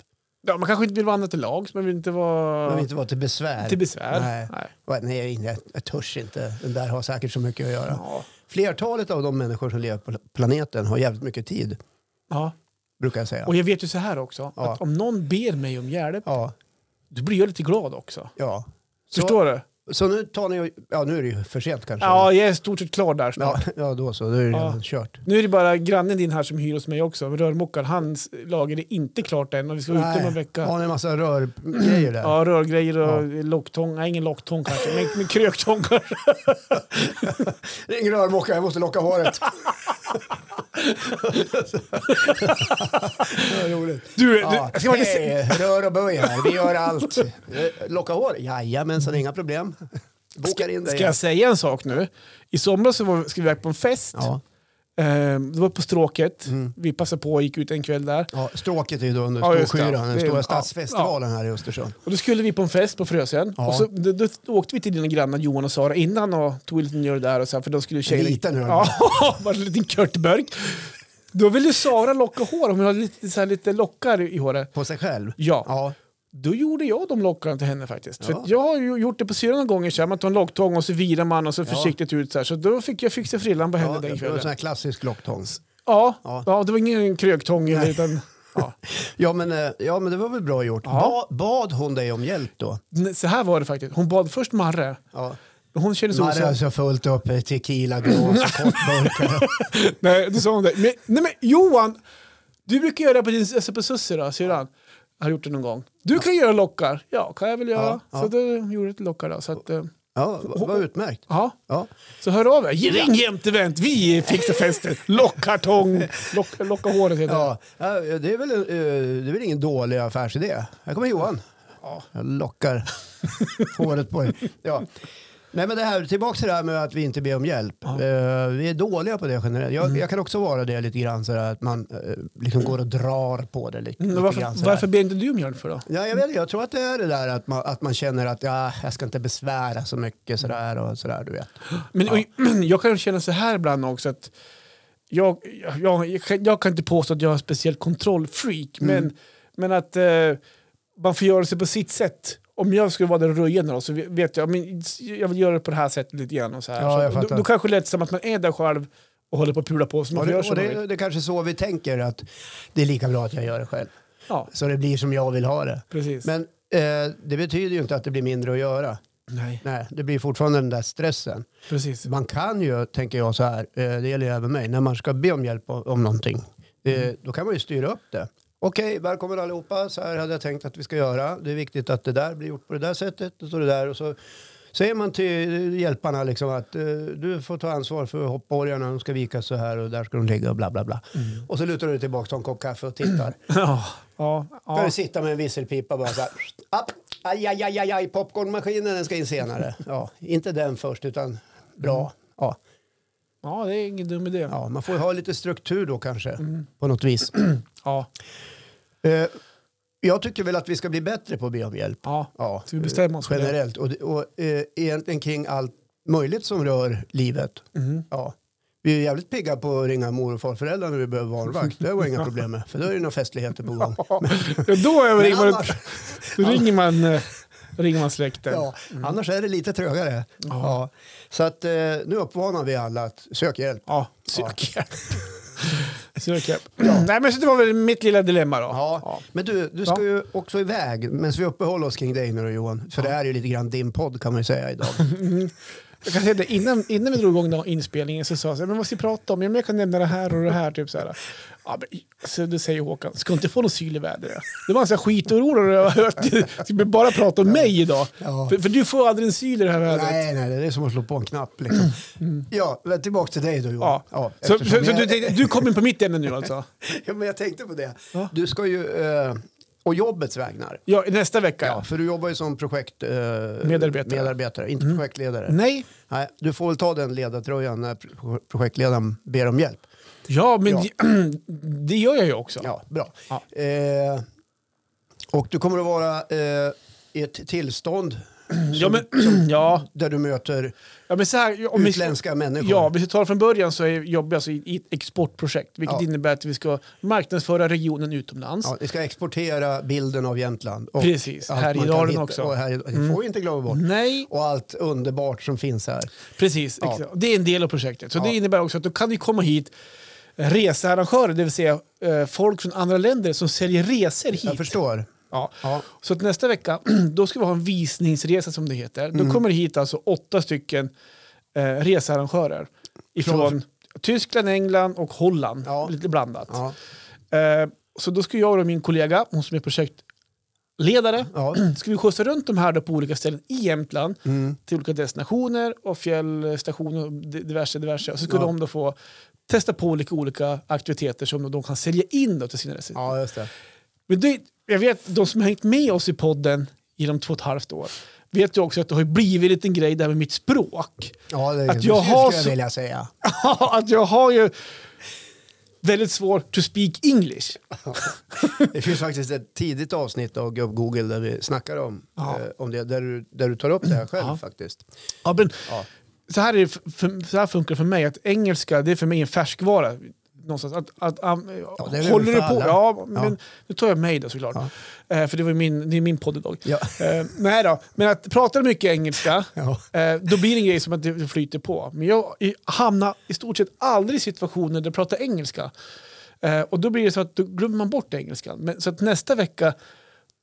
[SPEAKER 2] Ja, man kanske inte vill vandra till lags, man vill inte vara
[SPEAKER 1] Men vi inte vara till besvär.
[SPEAKER 2] till besvär.
[SPEAKER 1] Nej. Va, Nej, nej, jag törs inte. Den där har säkert så mycket att göra.
[SPEAKER 2] Ja.
[SPEAKER 1] Flertalet av de människor som lever på planeten har jävligt mycket tid,
[SPEAKER 2] Ja.
[SPEAKER 1] brukar jag säga.
[SPEAKER 2] Och jag vet ju så här också,
[SPEAKER 1] Ja.
[SPEAKER 2] att om någon ber mig om hjälp,
[SPEAKER 1] Ja,
[SPEAKER 2] då blir jag lite glad också.
[SPEAKER 1] ja. Så,
[SPEAKER 2] Förstår du?
[SPEAKER 1] så nu tar ni och, Ja, nu är det ju för sent kanske.
[SPEAKER 2] Ja, jag är i stort sett klar där snart.
[SPEAKER 1] ja, ja då så. Då är det
[SPEAKER 2] Ja.
[SPEAKER 1] redan kört.
[SPEAKER 2] Nu är det bara grannen din här som hyr hos mig också, rörmokaren. Hans lager är inte klart än och vi ska vara ute om en vecka.
[SPEAKER 1] Har ni en massa rörgrejer där?
[SPEAKER 2] Ja, rörgrejer och locktång. Nej, ingen locktång kanske, men, men kröktång kanske.
[SPEAKER 1] Ring rörmokaren, jag måste locka håret. Vad roligt.
[SPEAKER 2] Du,
[SPEAKER 1] Ja,
[SPEAKER 2] du, ska man inte se-
[SPEAKER 1] hej, rör och böj här, vi gör allt. Eh, Locka hår? Jajamensan, inga problem. Bokar in dig.
[SPEAKER 2] Ska jag säga en sak nu? I somras så var, ska vi iväg på en fest.
[SPEAKER 1] Ja.
[SPEAKER 2] Ehm, det var på Stråket. Vi passade på och gick ut en kväll där.
[SPEAKER 1] Ja, stråket är ju då under
[SPEAKER 2] Ja, just det.
[SPEAKER 1] Storskyran, den
[SPEAKER 2] Det är-
[SPEAKER 1] stora
[SPEAKER 2] ja,
[SPEAKER 1] stadsfestivalen här i Östersund.
[SPEAKER 2] Och då skulle vi på en fest på Frösön.
[SPEAKER 1] Ja.
[SPEAKER 2] Och så, då, då åkte vi till dina grannar Johan och Sara innan och tog en liten öl där. Och så här, för då skulle tjejerna...
[SPEAKER 1] liten öl.
[SPEAKER 2] Ja, bara en liten körtburk. Då ville Sara locka hår. Hon hade lite, så här, lite lockar i håret.
[SPEAKER 1] På sig själv?
[SPEAKER 2] Ja.
[SPEAKER 1] Ja,
[SPEAKER 2] Då gjorde jag de lockarna till henne faktiskt. För
[SPEAKER 1] Ja.
[SPEAKER 2] att jag har ju gjort det på syrran några gånger. Så här, man tar en locktång och så virar man och så försiktigt ut. Så, här, så då fick jag fixa frillan på henne
[SPEAKER 1] ja
[SPEAKER 2] den
[SPEAKER 1] det var
[SPEAKER 2] kvällen.
[SPEAKER 1] en sån här klassisk locktång.
[SPEAKER 2] Ja,
[SPEAKER 1] Ja.
[SPEAKER 2] ja. det var ingen kröktång eller, utan... Ja.
[SPEAKER 1] Ja men, eh, ja, men det var väl bra gjort.
[SPEAKER 2] Ja.
[SPEAKER 1] Ba, bad hon dig om hjälp då?
[SPEAKER 2] Nej, Så här var det faktiskt. Hon bad först Marre.
[SPEAKER 1] Ja.
[SPEAKER 2] Hon kände sig
[SPEAKER 1] Marre har så
[SPEAKER 2] osäker.
[SPEAKER 1] fullt upp eh, tequila, glas och kortburkar.
[SPEAKER 2] Nej, då sa hon det. Men, nej men Johan! Du brukar göra det på din alltså på sussi då, syrran. Har gjort det någon gång. Du kan göra lockar. Ja, kan jag väl göra.
[SPEAKER 1] Ja,
[SPEAKER 2] Så då gjorde jag ett lockar då. Så att, eh,
[SPEAKER 1] Ja, vad vad utmärkt.
[SPEAKER 2] ja.
[SPEAKER 1] Ja.
[SPEAKER 2] Så hör av er. Ring Jämtevent. Vi fixar festen. Lockkartong. Lock, locka håret heter det.
[SPEAKER 1] Ja, ja, det är, väl, en, eh, det är väl ingen dålig affärsidé. Här kommer Johan.
[SPEAKER 2] Ja.
[SPEAKER 1] Jag lockar håret på dig. Ja. Nej, men det här, tillbaka till det här med att vi inte ber om hjälp. Eh, vi är dåliga på det generellt. Jag,
[SPEAKER 2] Mm.
[SPEAKER 1] jag kan också vara det lite grann så där, att man eh, liksom går och drar på det lite,
[SPEAKER 2] Men
[SPEAKER 1] lite
[SPEAKER 2] Mm, varför,
[SPEAKER 1] grann. Så
[SPEAKER 2] varför
[SPEAKER 1] där.
[SPEAKER 2] ber inte du om hjälp för då?
[SPEAKER 1] Ja, jag, vet, inte, jag tror att det är det där att man, att man känner att ja, jag ska inte besvära så mycket sådär och sådär du
[SPEAKER 2] Mm.
[SPEAKER 1] vet.
[SPEAKER 2] Men och, jag kan känna så här ibland också att jag, jag, jag, kan- jag kan inte påstå att jag är speciellt kontrollfreak,
[SPEAKER 1] Mm.
[SPEAKER 2] men, men att eh, man får göra sig på sitt sätt. Om jag skulle vara den röjande då, så vet jag, men, jag vill göra det på det här sättet lite grann. Och så här.
[SPEAKER 1] Ja, jag
[SPEAKER 2] så, då,
[SPEAKER 1] fattar.
[SPEAKER 2] då kanske det lät som att man är där själv och håller på att pula på så man
[SPEAKER 1] Och det,
[SPEAKER 2] får göra
[SPEAKER 1] och
[SPEAKER 2] som man vill.
[SPEAKER 1] det, det är kanske så vi tänker att det är lika bra att jag gör det själv.
[SPEAKER 2] Ja,
[SPEAKER 1] Så det blir som jag vill ha det.
[SPEAKER 2] precis.
[SPEAKER 1] Men eh, det betyder ju inte att det blir mindre att göra.
[SPEAKER 2] Nej,
[SPEAKER 1] Nej, det blir fortfarande den där stressen.
[SPEAKER 2] precis.
[SPEAKER 1] Man kan ju, tänker jag så här, eh, det gäller ju även mig, när man ska be om hjälp o- om någonting, eh, då kan man ju styra upp det. Okej, välkommen allihopa, så här hade jag tänkt att vi ska göra. Det är viktigt att det där blir gjort på det där sättet och så det där. Och så säger man till hjälparna liksom att eh, du får ta ansvar för hoppborgarna, de ska vikas så här och där ska de ligga och bla bla bla. Och så lutar du dig tillbaka, tar en kopp kaffe och tittar.
[SPEAKER 2] Ja, ja,
[SPEAKER 1] Kan
[SPEAKER 2] ja.
[SPEAKER 1] du sitta med en visselpipa bara så här. App, aj, aj, aj, aj, aj, popcornmaskinen den ska in senare. Ja, inte den först utan
[SPEAKER 2] Mm.
[SPEAKER 1] bra. Ja,
[SPEAKER 2] ja, det är ingen dum idé.
[SPEAKER 1] ja, man får ju ha lite struktur då kanske
[SPEAKER 2] Mm.
[SPEAKER 1] på något vis.
[SPEAKER 2] Ja,
[SPEAKER 1] Eh, jag tycker väl att vi ska bli bättre på att be om hjälp.
[SPEAKER 2] ja.
[SPEAKER 1] Ja,
[SPEAKER 2] Så vi bestämmer oss för det.
[SPEAKER 1] generellt och, det- och eh, egentligen kring allt möjligt som rör livet.
[SPEAKER 2] Mm.
[SPEAKER 1] Ja. Vi är ju jävligt pigga på att ringa mor och farföräldrar när vi behöver barnvakt. Det var inga problem med, för då är det några festligheter på gång.
[SPEAKER 2] Ja, då är
[SPEAKER 1] Men
[SPEAKER 2] ringer man,
[SPEAKER 1] annars-
[SPEAKER 2] då ringer man, eh, ringer man släkten.
[SPEAKER 1] Ja,
[SPEAKER 2] Mm.
[SPEAKER 1] Annars är det lite trögare. Ja. Så att, eh, nu uppmanar vi alla att sök hjälp.
[SPEAKER 2] Ja, sök hjälp. sök hjälp. Nej, men så det var väl mitt lilla dilemma då.
[SPEAKER 1] Ja. Men du, du ska
[SPEAKER 2] Ja.
[SPEAKER 1] ju också iväg, men vi uppehåller oss kring dig nu då, Johan. För det här är ju lite grann din podd kan man ju säga idag.
[SPEAKER 2] Jag kan säga det, innan, innan vi drog igång den här inspelningen så sa jag så här, men vad ska vi prata om? Ja, men jag kan nämna det här och det här. Typ så här. Ja, men, så då säger Håkan, ska inte få någon syl i vädret. Det var en sån här skitorolig när jag hört. Ska vi bara prata om mig idag?
[SPEAKER 1] Ja.
[SPEAKER 2] För, för du får aldrig en syl i det här vädret.
[SPEAKER 1] nej, nej, det är som att slå på en knapp liksom. Ja, men tillbaka till dig då Johan.
[SPEAKER 2] Ja. så så,
[SPEAKER 1] eftersom
[SPEAKER 2] så
[SPEAKER 1] jag-
[SPEAKER 2] du, tänkte- du kom in på mitt ämne nu alltså?
[SPEAKER 1] ja, men jag tänkte på det.
[SPEAKER 2] Ja.
[SPEAKER 1] Du ska ju, eh, och jobbets vägnar.
[SPEAKER 2] Ja, nästa vecka
[SPEAKER 1] Ja, för du jobbar ju som projekt... Eh,
[SPEAKER 2] Medarbetare. Mm.
[SPEAKER 1] medarbetare, inte projektledare.
[SPEAKER 2] Nej,
[SPEAKER 1] Nej, du får väl ta den ledartröjan när pro- projektledaren ber om hjälp.
[SPEAKER 2] Ja, men
[SPEAKER 1] Ja.
[SPEAKER 2] Det, det gör jag ju också.
[SPEAKER 1] Ja, bra.
[SPEAKER 2] Ja.
[SPEAKER 1] Eh, och du kommer att vara eh, i ett tillstånd
[SPEAKER 2] Ja, men, ja.
[SPEAKER 1] där du möter
[SPEAKER 2] ja, men så här, om vi,
[SPEAKER 1] utländska människor.
[SPEAKER 2] ja, vi tar det från början så är, jobbar jag alltså i, i ett exportprojekt, vilket
[SPEAKER 1] Ja.
[SPEAKER 2] innebär att vi ska marknadsföra regionen utomlands.
[SPEAKER 1] Ja, vi ska exportera bilden av Jämtland. Och
[SPEAKER 2] Precis,
[SPEAKER 1] allt
[SPEAKER 2] här i
[SPEAKER 1] man kan
[SPEAKER 2] dalen
[SPEAKER 1] hitta-
[SPEAKER 2] också. Mm.
[SPEAKER 1] Och här, i- det får vi inte glömma bort.
[SPEAKER 2] Nej,
[SPEAKER 1] Och allt underbart som finns här.
[SPEAKER 2] precis.
[SPEAKER 1] Ja.
[SPEAKER 2] exakt. Det är en del av projektet. Så
[SPEAKER 1] Ja.
[SPEAKER 2] det innebär också att då kan vi komma hit researrangörer, det vill säga eh, folk från andra länder som säljer resor
[SPEAKER 1] Jag
[SPEAKER 2] hit.
[SPEAKER 1] förstår.
[SPEAKER 2] Ja.
[SPEAKER 1] Ja.
[SPEAKER 2] Så att nästa vecka, då ska vi ha en visningsresa som det heter.
[SPEAKER 1] Mm.
[SPEAKER 2] Då kommer det hit alltså åtta stycken eh, researrangörer ifrån Tyskland, England och Holland.
[SPEAKER 1] Ja.
[SPEAKER 2] Lite blandat.
[SPEAKER 1] Ja,
[SPEAKER 2] Eh, så då ska jag och min kollega, hon som är projektledare,
[SPEAKER 1] ja.
[SPEAKER 2] ska vi skjutsa runt de här då på olika ställen i Jämtland
[SPEAKER 1] Mm.
[SPEAKER 2] till olika destinationer och fjällstationer och di- diverse, diverse. Och så skulle
[SPEAKER 1] Ja.
[SPEAKER 2] de då få testa på olika, olika aktiviteter som de kan sälja in då till sina resenärer.
[SPEAKER 1] ja just det.
[SPEAKER 2] Men det, jag vet, de som har hängt med oss i podden genom två och ett halvt år vet ju också att det har ju blivit en liten grej där med mitt språk.
[SPEAKER 1] Ja, det,
[SPEAKER 2] Att jag
[SPEAKER 1] det
[SPEAKER 2] har
[SPEAKER 1] skulle
[SPEAKER 2] så-
[SPEAKER 1] jag vilja säga.
[SPEAKER 2] att jag har ju väldigt svårt to speak English.
[SPEAKER 1] Det finns faktiskt ett tidigt avsnitt av Gubb Google där vi snackar om,
[SPEAKER 2] Ja.
[SPEAKER 1] eh, om det, där du, där du tar upp det här själv
[SPEAKER 2] Ja.
[SPEAKER 1] faktiskt.
[SPEAKER 2] Ja, men,
[SPEAKER 1] Ja.
[SPEAKER 2] så, här är det, f- för, så här funkar det för mig, att engelska det är för mig en färskvara. Någonstans. Att, att, am-
[SPEAKER 1] det är det
[SPEAKER 2] håller
[SPEAKER 1] väl
[SPEAKER 2] du
[SPEAKER 1] för
[SPEAKER 2] på?
[SPEAKER 1] alla.
[SPEAKER 2] Ja, men
[SPEAKER 1] Ja.
[SPEAKER 2] nu tar jag mig då såklart. Eh, för det, var ju min, det är min podd idag.
[SPEAKER 1] Ja.
[SPEAKER 2] Eh, nej då, men att prata mycket engelska,
[SPEAKER 1] Ja.
[SPEAKER 2] eh, då blir det en grej som att det flyter på. Men jag i- hamnar i stort sett aldrig i situationer där jag pratar engelska. Eh, och då blir det så att då glömmer man bort engelskan. Men, så att nästa vecka,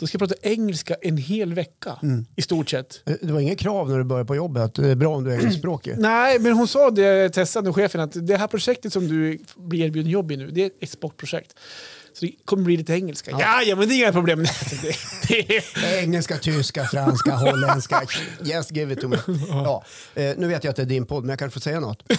[SPEAKER 2] då ska jag prata engelska en hel vecka
[SPEAKER 1] Mm.
[SPEAKER 2] i stort sett.
[SPEAKER 1] Eh, Det var inget krav när du började på jobbet att det är bra om du är engelskspråkig.
[SPEAKER 2] Nej, men hon sa det, Tessan, chefen, att det här projektet som du blir erbjuden jobb i nu, det är ett exportprojekt. Så det kommer bli lite engelska. Ja, ja men det är inga problem. det, det,
[SPEAKER 1] Eh, Engelska, tyska, franska, holländska. Yes, give it to me. Ja. Eh, nu vet jag att det är din podd, men jag kanske får säga något.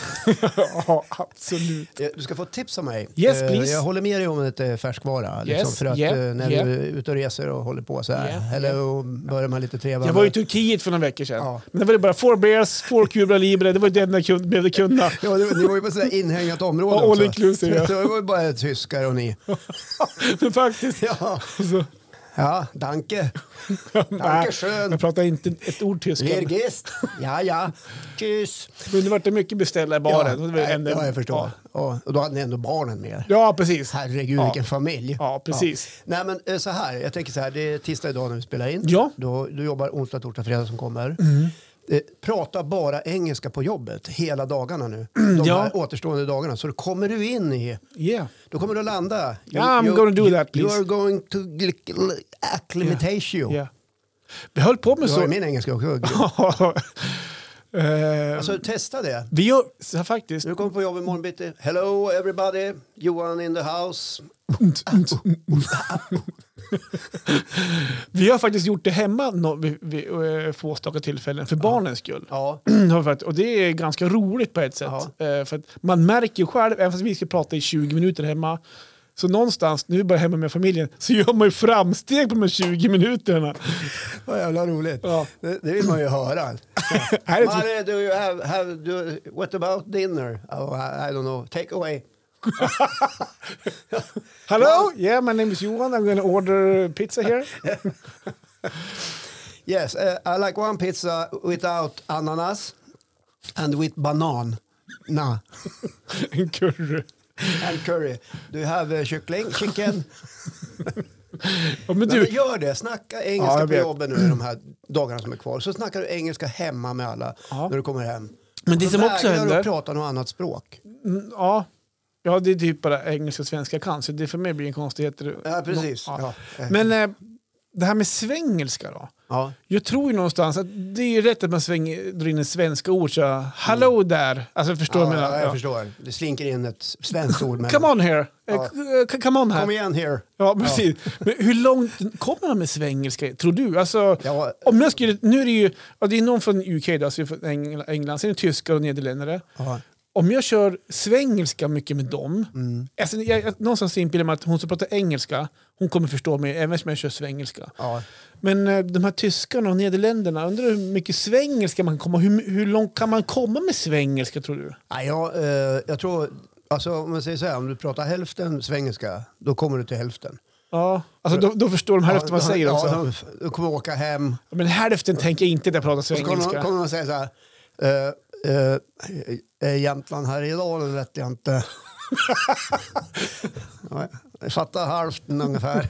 [SPEAKER 2] ja, absolut.
[SPEAKER 1] Eh, Du ska få ett tips av mig.
[SPEAKER 2] Yes,
[SPEAKER 1] Eh,
[SPEAKER 2] please.
[SPEAKER 1] Jag håller med dig om att det är färskvara. Liksom,
[SPEAKER 2] Yes,
[SPEAKER 1] för att
[SPEAKER 2] yeah,
[SPEAKER 1] eh, när
[SPEAKER 2] yeah.
[SPEAKER 1] du är ute och reser och håller på så här.
[SPEAKER 2] Yeah,
[SPEAKER 1] eller och börjar man lite trevande.
[SPEAKER 2] Jag var i Turkiet för några veckor sedan.
[SPEAKER 1] Ja.
[SPEAKER 2] Men det var det bara four beers, four Cuba Libre, det var det enda jag kun- behövde kunna.
[SPEAKER 1] Ja, det, ni var ju på sådär inhägnat område
[SPEAKER 2] Ja, all
[SPEAKER 1] också.
[SPEAKER 2] inclusive, ja.
[SPEAKER 1] Så det var ju bara tyskar och ni.
[SPEAKER 2] Men faktiskt.
[SPEAKER 1] Ja,
[SPEAKER 2] Så,
[SPEAKER 1] ja danke.
[SPEAKER 2] nej,
[SPEAKER 1] schön.
[SPEAKER 2] jag pratar inte ett ord tyska.
[SPEAKER 1] Virgist. Ja, ja. Tschüss.
[SPEAKER 2] Men det vart det mycket beställa i baren. och det var det
[SPEAKER 1] nej,
[SPEAKER 2] enda-
[SPEAKER 1] ja, jag förstår.
[SPEAKER 2] Ja,
[SPEAKER 1] Ja, och då hade ni ändå barnen med er.
[SPEAKER 2] ja precis.
[SPEAKER 1] Herregud,
[SPEAKER 2] Ja.
[SPEAKER 1] vilken familj.
[SPEAKER 2] Ja, precis.
[SPEAKER 1] Ja. Nej, men eh, så här. Jag tänker så här. Det är tisdag idag när vi spelar in.
[SPEAKER 2] Ja. Mm.
[SPEAKER 1] Då, du jobbar onsdag, torsdag, fredag som kommer. Eh, Prata bara engelska på jobbet hela dagarna nu. De
[SPEAKER 2] ja.
[SPEAKER 1] här återstående dagarna. Så då kommer du in i...
[SPEAKER 2] Yeah.
[SPEAKER 1] Då kommer du att landa.
[SPEAKER 2] Yeah, I'm gonna do that,
[SPEAKER 1] You
[SPEAKER 2] please.
[SPEAKER 1] are going to gl- acclimate you.
[SPEAKER 2] Yeah. Vi höll på med
[SPEAKER 1] Du har
[SPEAKER 2] så.
[SPEAKER 1] ju min engelska också.
[SPEAKER 2] Eh,
[SPEAKER 1] Alltså, testa det.
[SPEAKER 2] vi gör så här faktiskt.
[SPEAKER 1] Du kommer på jobb imorgon bitti. Hello everybody, Johan in the house.
[SPEAKER 2] Vi har faktiskt gjort det hemma no, vid, vid, eh, på enstaka tillfällen för barnens skull.
[SPEAKER 1] Ja,
[SPEAKER 2] Har vi fått- Och det är ganska roligt på ett sätt. Eh, För att man märker ju själv, även fast vi ska prata i 20 minuter hemma, så någonstans, nu är vi bara hemma med familjen, så gör man ju framsteg på de här 20 minuterna.
[SPEAKER 1] vad jävla roligt.
[SPEAKER 2] Ja.
[SPEAKER 1] Det, det vill man ju höra.
[SPEAKER 2] Är det så-
[SPEAKER 1] Mare, do you have, have do, what about dinner? Oh, I, I don't know, take away.
[SPEAKER 2] Hello, yeah my name is Johan, I'm gonna order pizza here.
[SPEAKER 1] Yes, eh, I like one pizza without ananas and with banan. Nah.
[SPEAKER 2] En curry.
[SPEAKER 1] And curry. Do you have eh, kyckling, chicken?
[SPEAKER 2] Ja, men
[SPEAKER 1] Men
[SPEAKER 2] du,
[SPEAKER 1] gör det, snacka
[SPEAKER 2] Ja,
[SPEAKER 1] engelska
[SPEAKER 2] jag
[SPEAKER 1] på
[SPEAKER 2] vet.
[SPEAKER 1] jobbet nu de här dagarna som är kvar. Så snackar du engelska hemma med alla
[SPEAKER 2] Ja.
[SPEAKER 1] när du kommer hem.
[SPEAKER 2] Men det
[SPEAKER 1] Så
[SPEAKER 2] som också
[SPEAKER 1] vägrar du
[SPEAKER 2] händer-
[SPEAKER 1] att prata något annat språk.
[SPEAKER 2] Mm, ja. Ja, det är typ bara engelska och svenska jag kan, så det för mig blir en konstighet.
[SPEAKER 1] Ja, precis.
[SPEAKER 2] Ja.
[SPEAKER 1] Ja. eh,
[SPEAKER 2] Men eh, det här med svängelska då?
[SPEAKER 1] ja.
[SPEAKER 2] Jag tror ju någonstans att det är ju rätt att man svänger, drar in en svenska ord. Så hallå där! Alltså förstår du vad
[SPEAKER 1] Mm. ja,
[SPEAKER 2] jag menar?
[SPEAKER 1] ja, jag
[SPEAKER 2] Ja.
[SPEAKER 1] förstår. Det slinker in ett svenskt ord. Men...
[SPEAKER 2] Come on here! Eh,
[SPEAKER 1] Ja.
[SPEAKER 2] k- k- Come on
[SPEAKER 1] Kom
[SPEAKER 2] här!
[SPEAKER 1] igen here.
[SPEAKER 2] Ja, precis. Men hur långt kommer man med svängelska, tror du? Alltså,
[SPEAKER 1] Ja,
[SPEAKER 2] om jag skulle, nu är det ju ja, det är någon från UK, då, alltså från Engl- England, sen är det tyskar och nederländare.
[SPEAKER 1] ja.
[SPEAKER 2] Om jag kör svengelska mycket med dem, alltså, jag, jag, någonstans inbillar jag mig att hon som pratar engelska, hon kommer förstå mig även om jag kör svengelska.
[SPEAKER 1] Ja.
[SPEAKER 2] Men eh, de här tyskarna och nederländerna, undrar hur mycket svängelska man kan komma? Hur, hur långt kan man komma med svängelska tror du?
[SPEAKER 1] Ja, jag, eh, jag tror, alltså, om man säger så här, om du pratar hälften svengelska, då kommer du till hälften.
[SPEAKER 2] Ja, alltså då, då förstår de hälften vad man säger också.
[SPEAKER 1] ja, de- Du kommer åka hem,
[SPEAKER 2] Men hälften tänker jag inte att jag pratar
[SPEAKER 1] Och så kommer de,
[SPEAKER 2] svengelska.
[SPEAKER 1] kommer de säga så här. eh, eh, är Jämtland här idag eller vet jag inte. Ja, jag fattar halvten ungefär.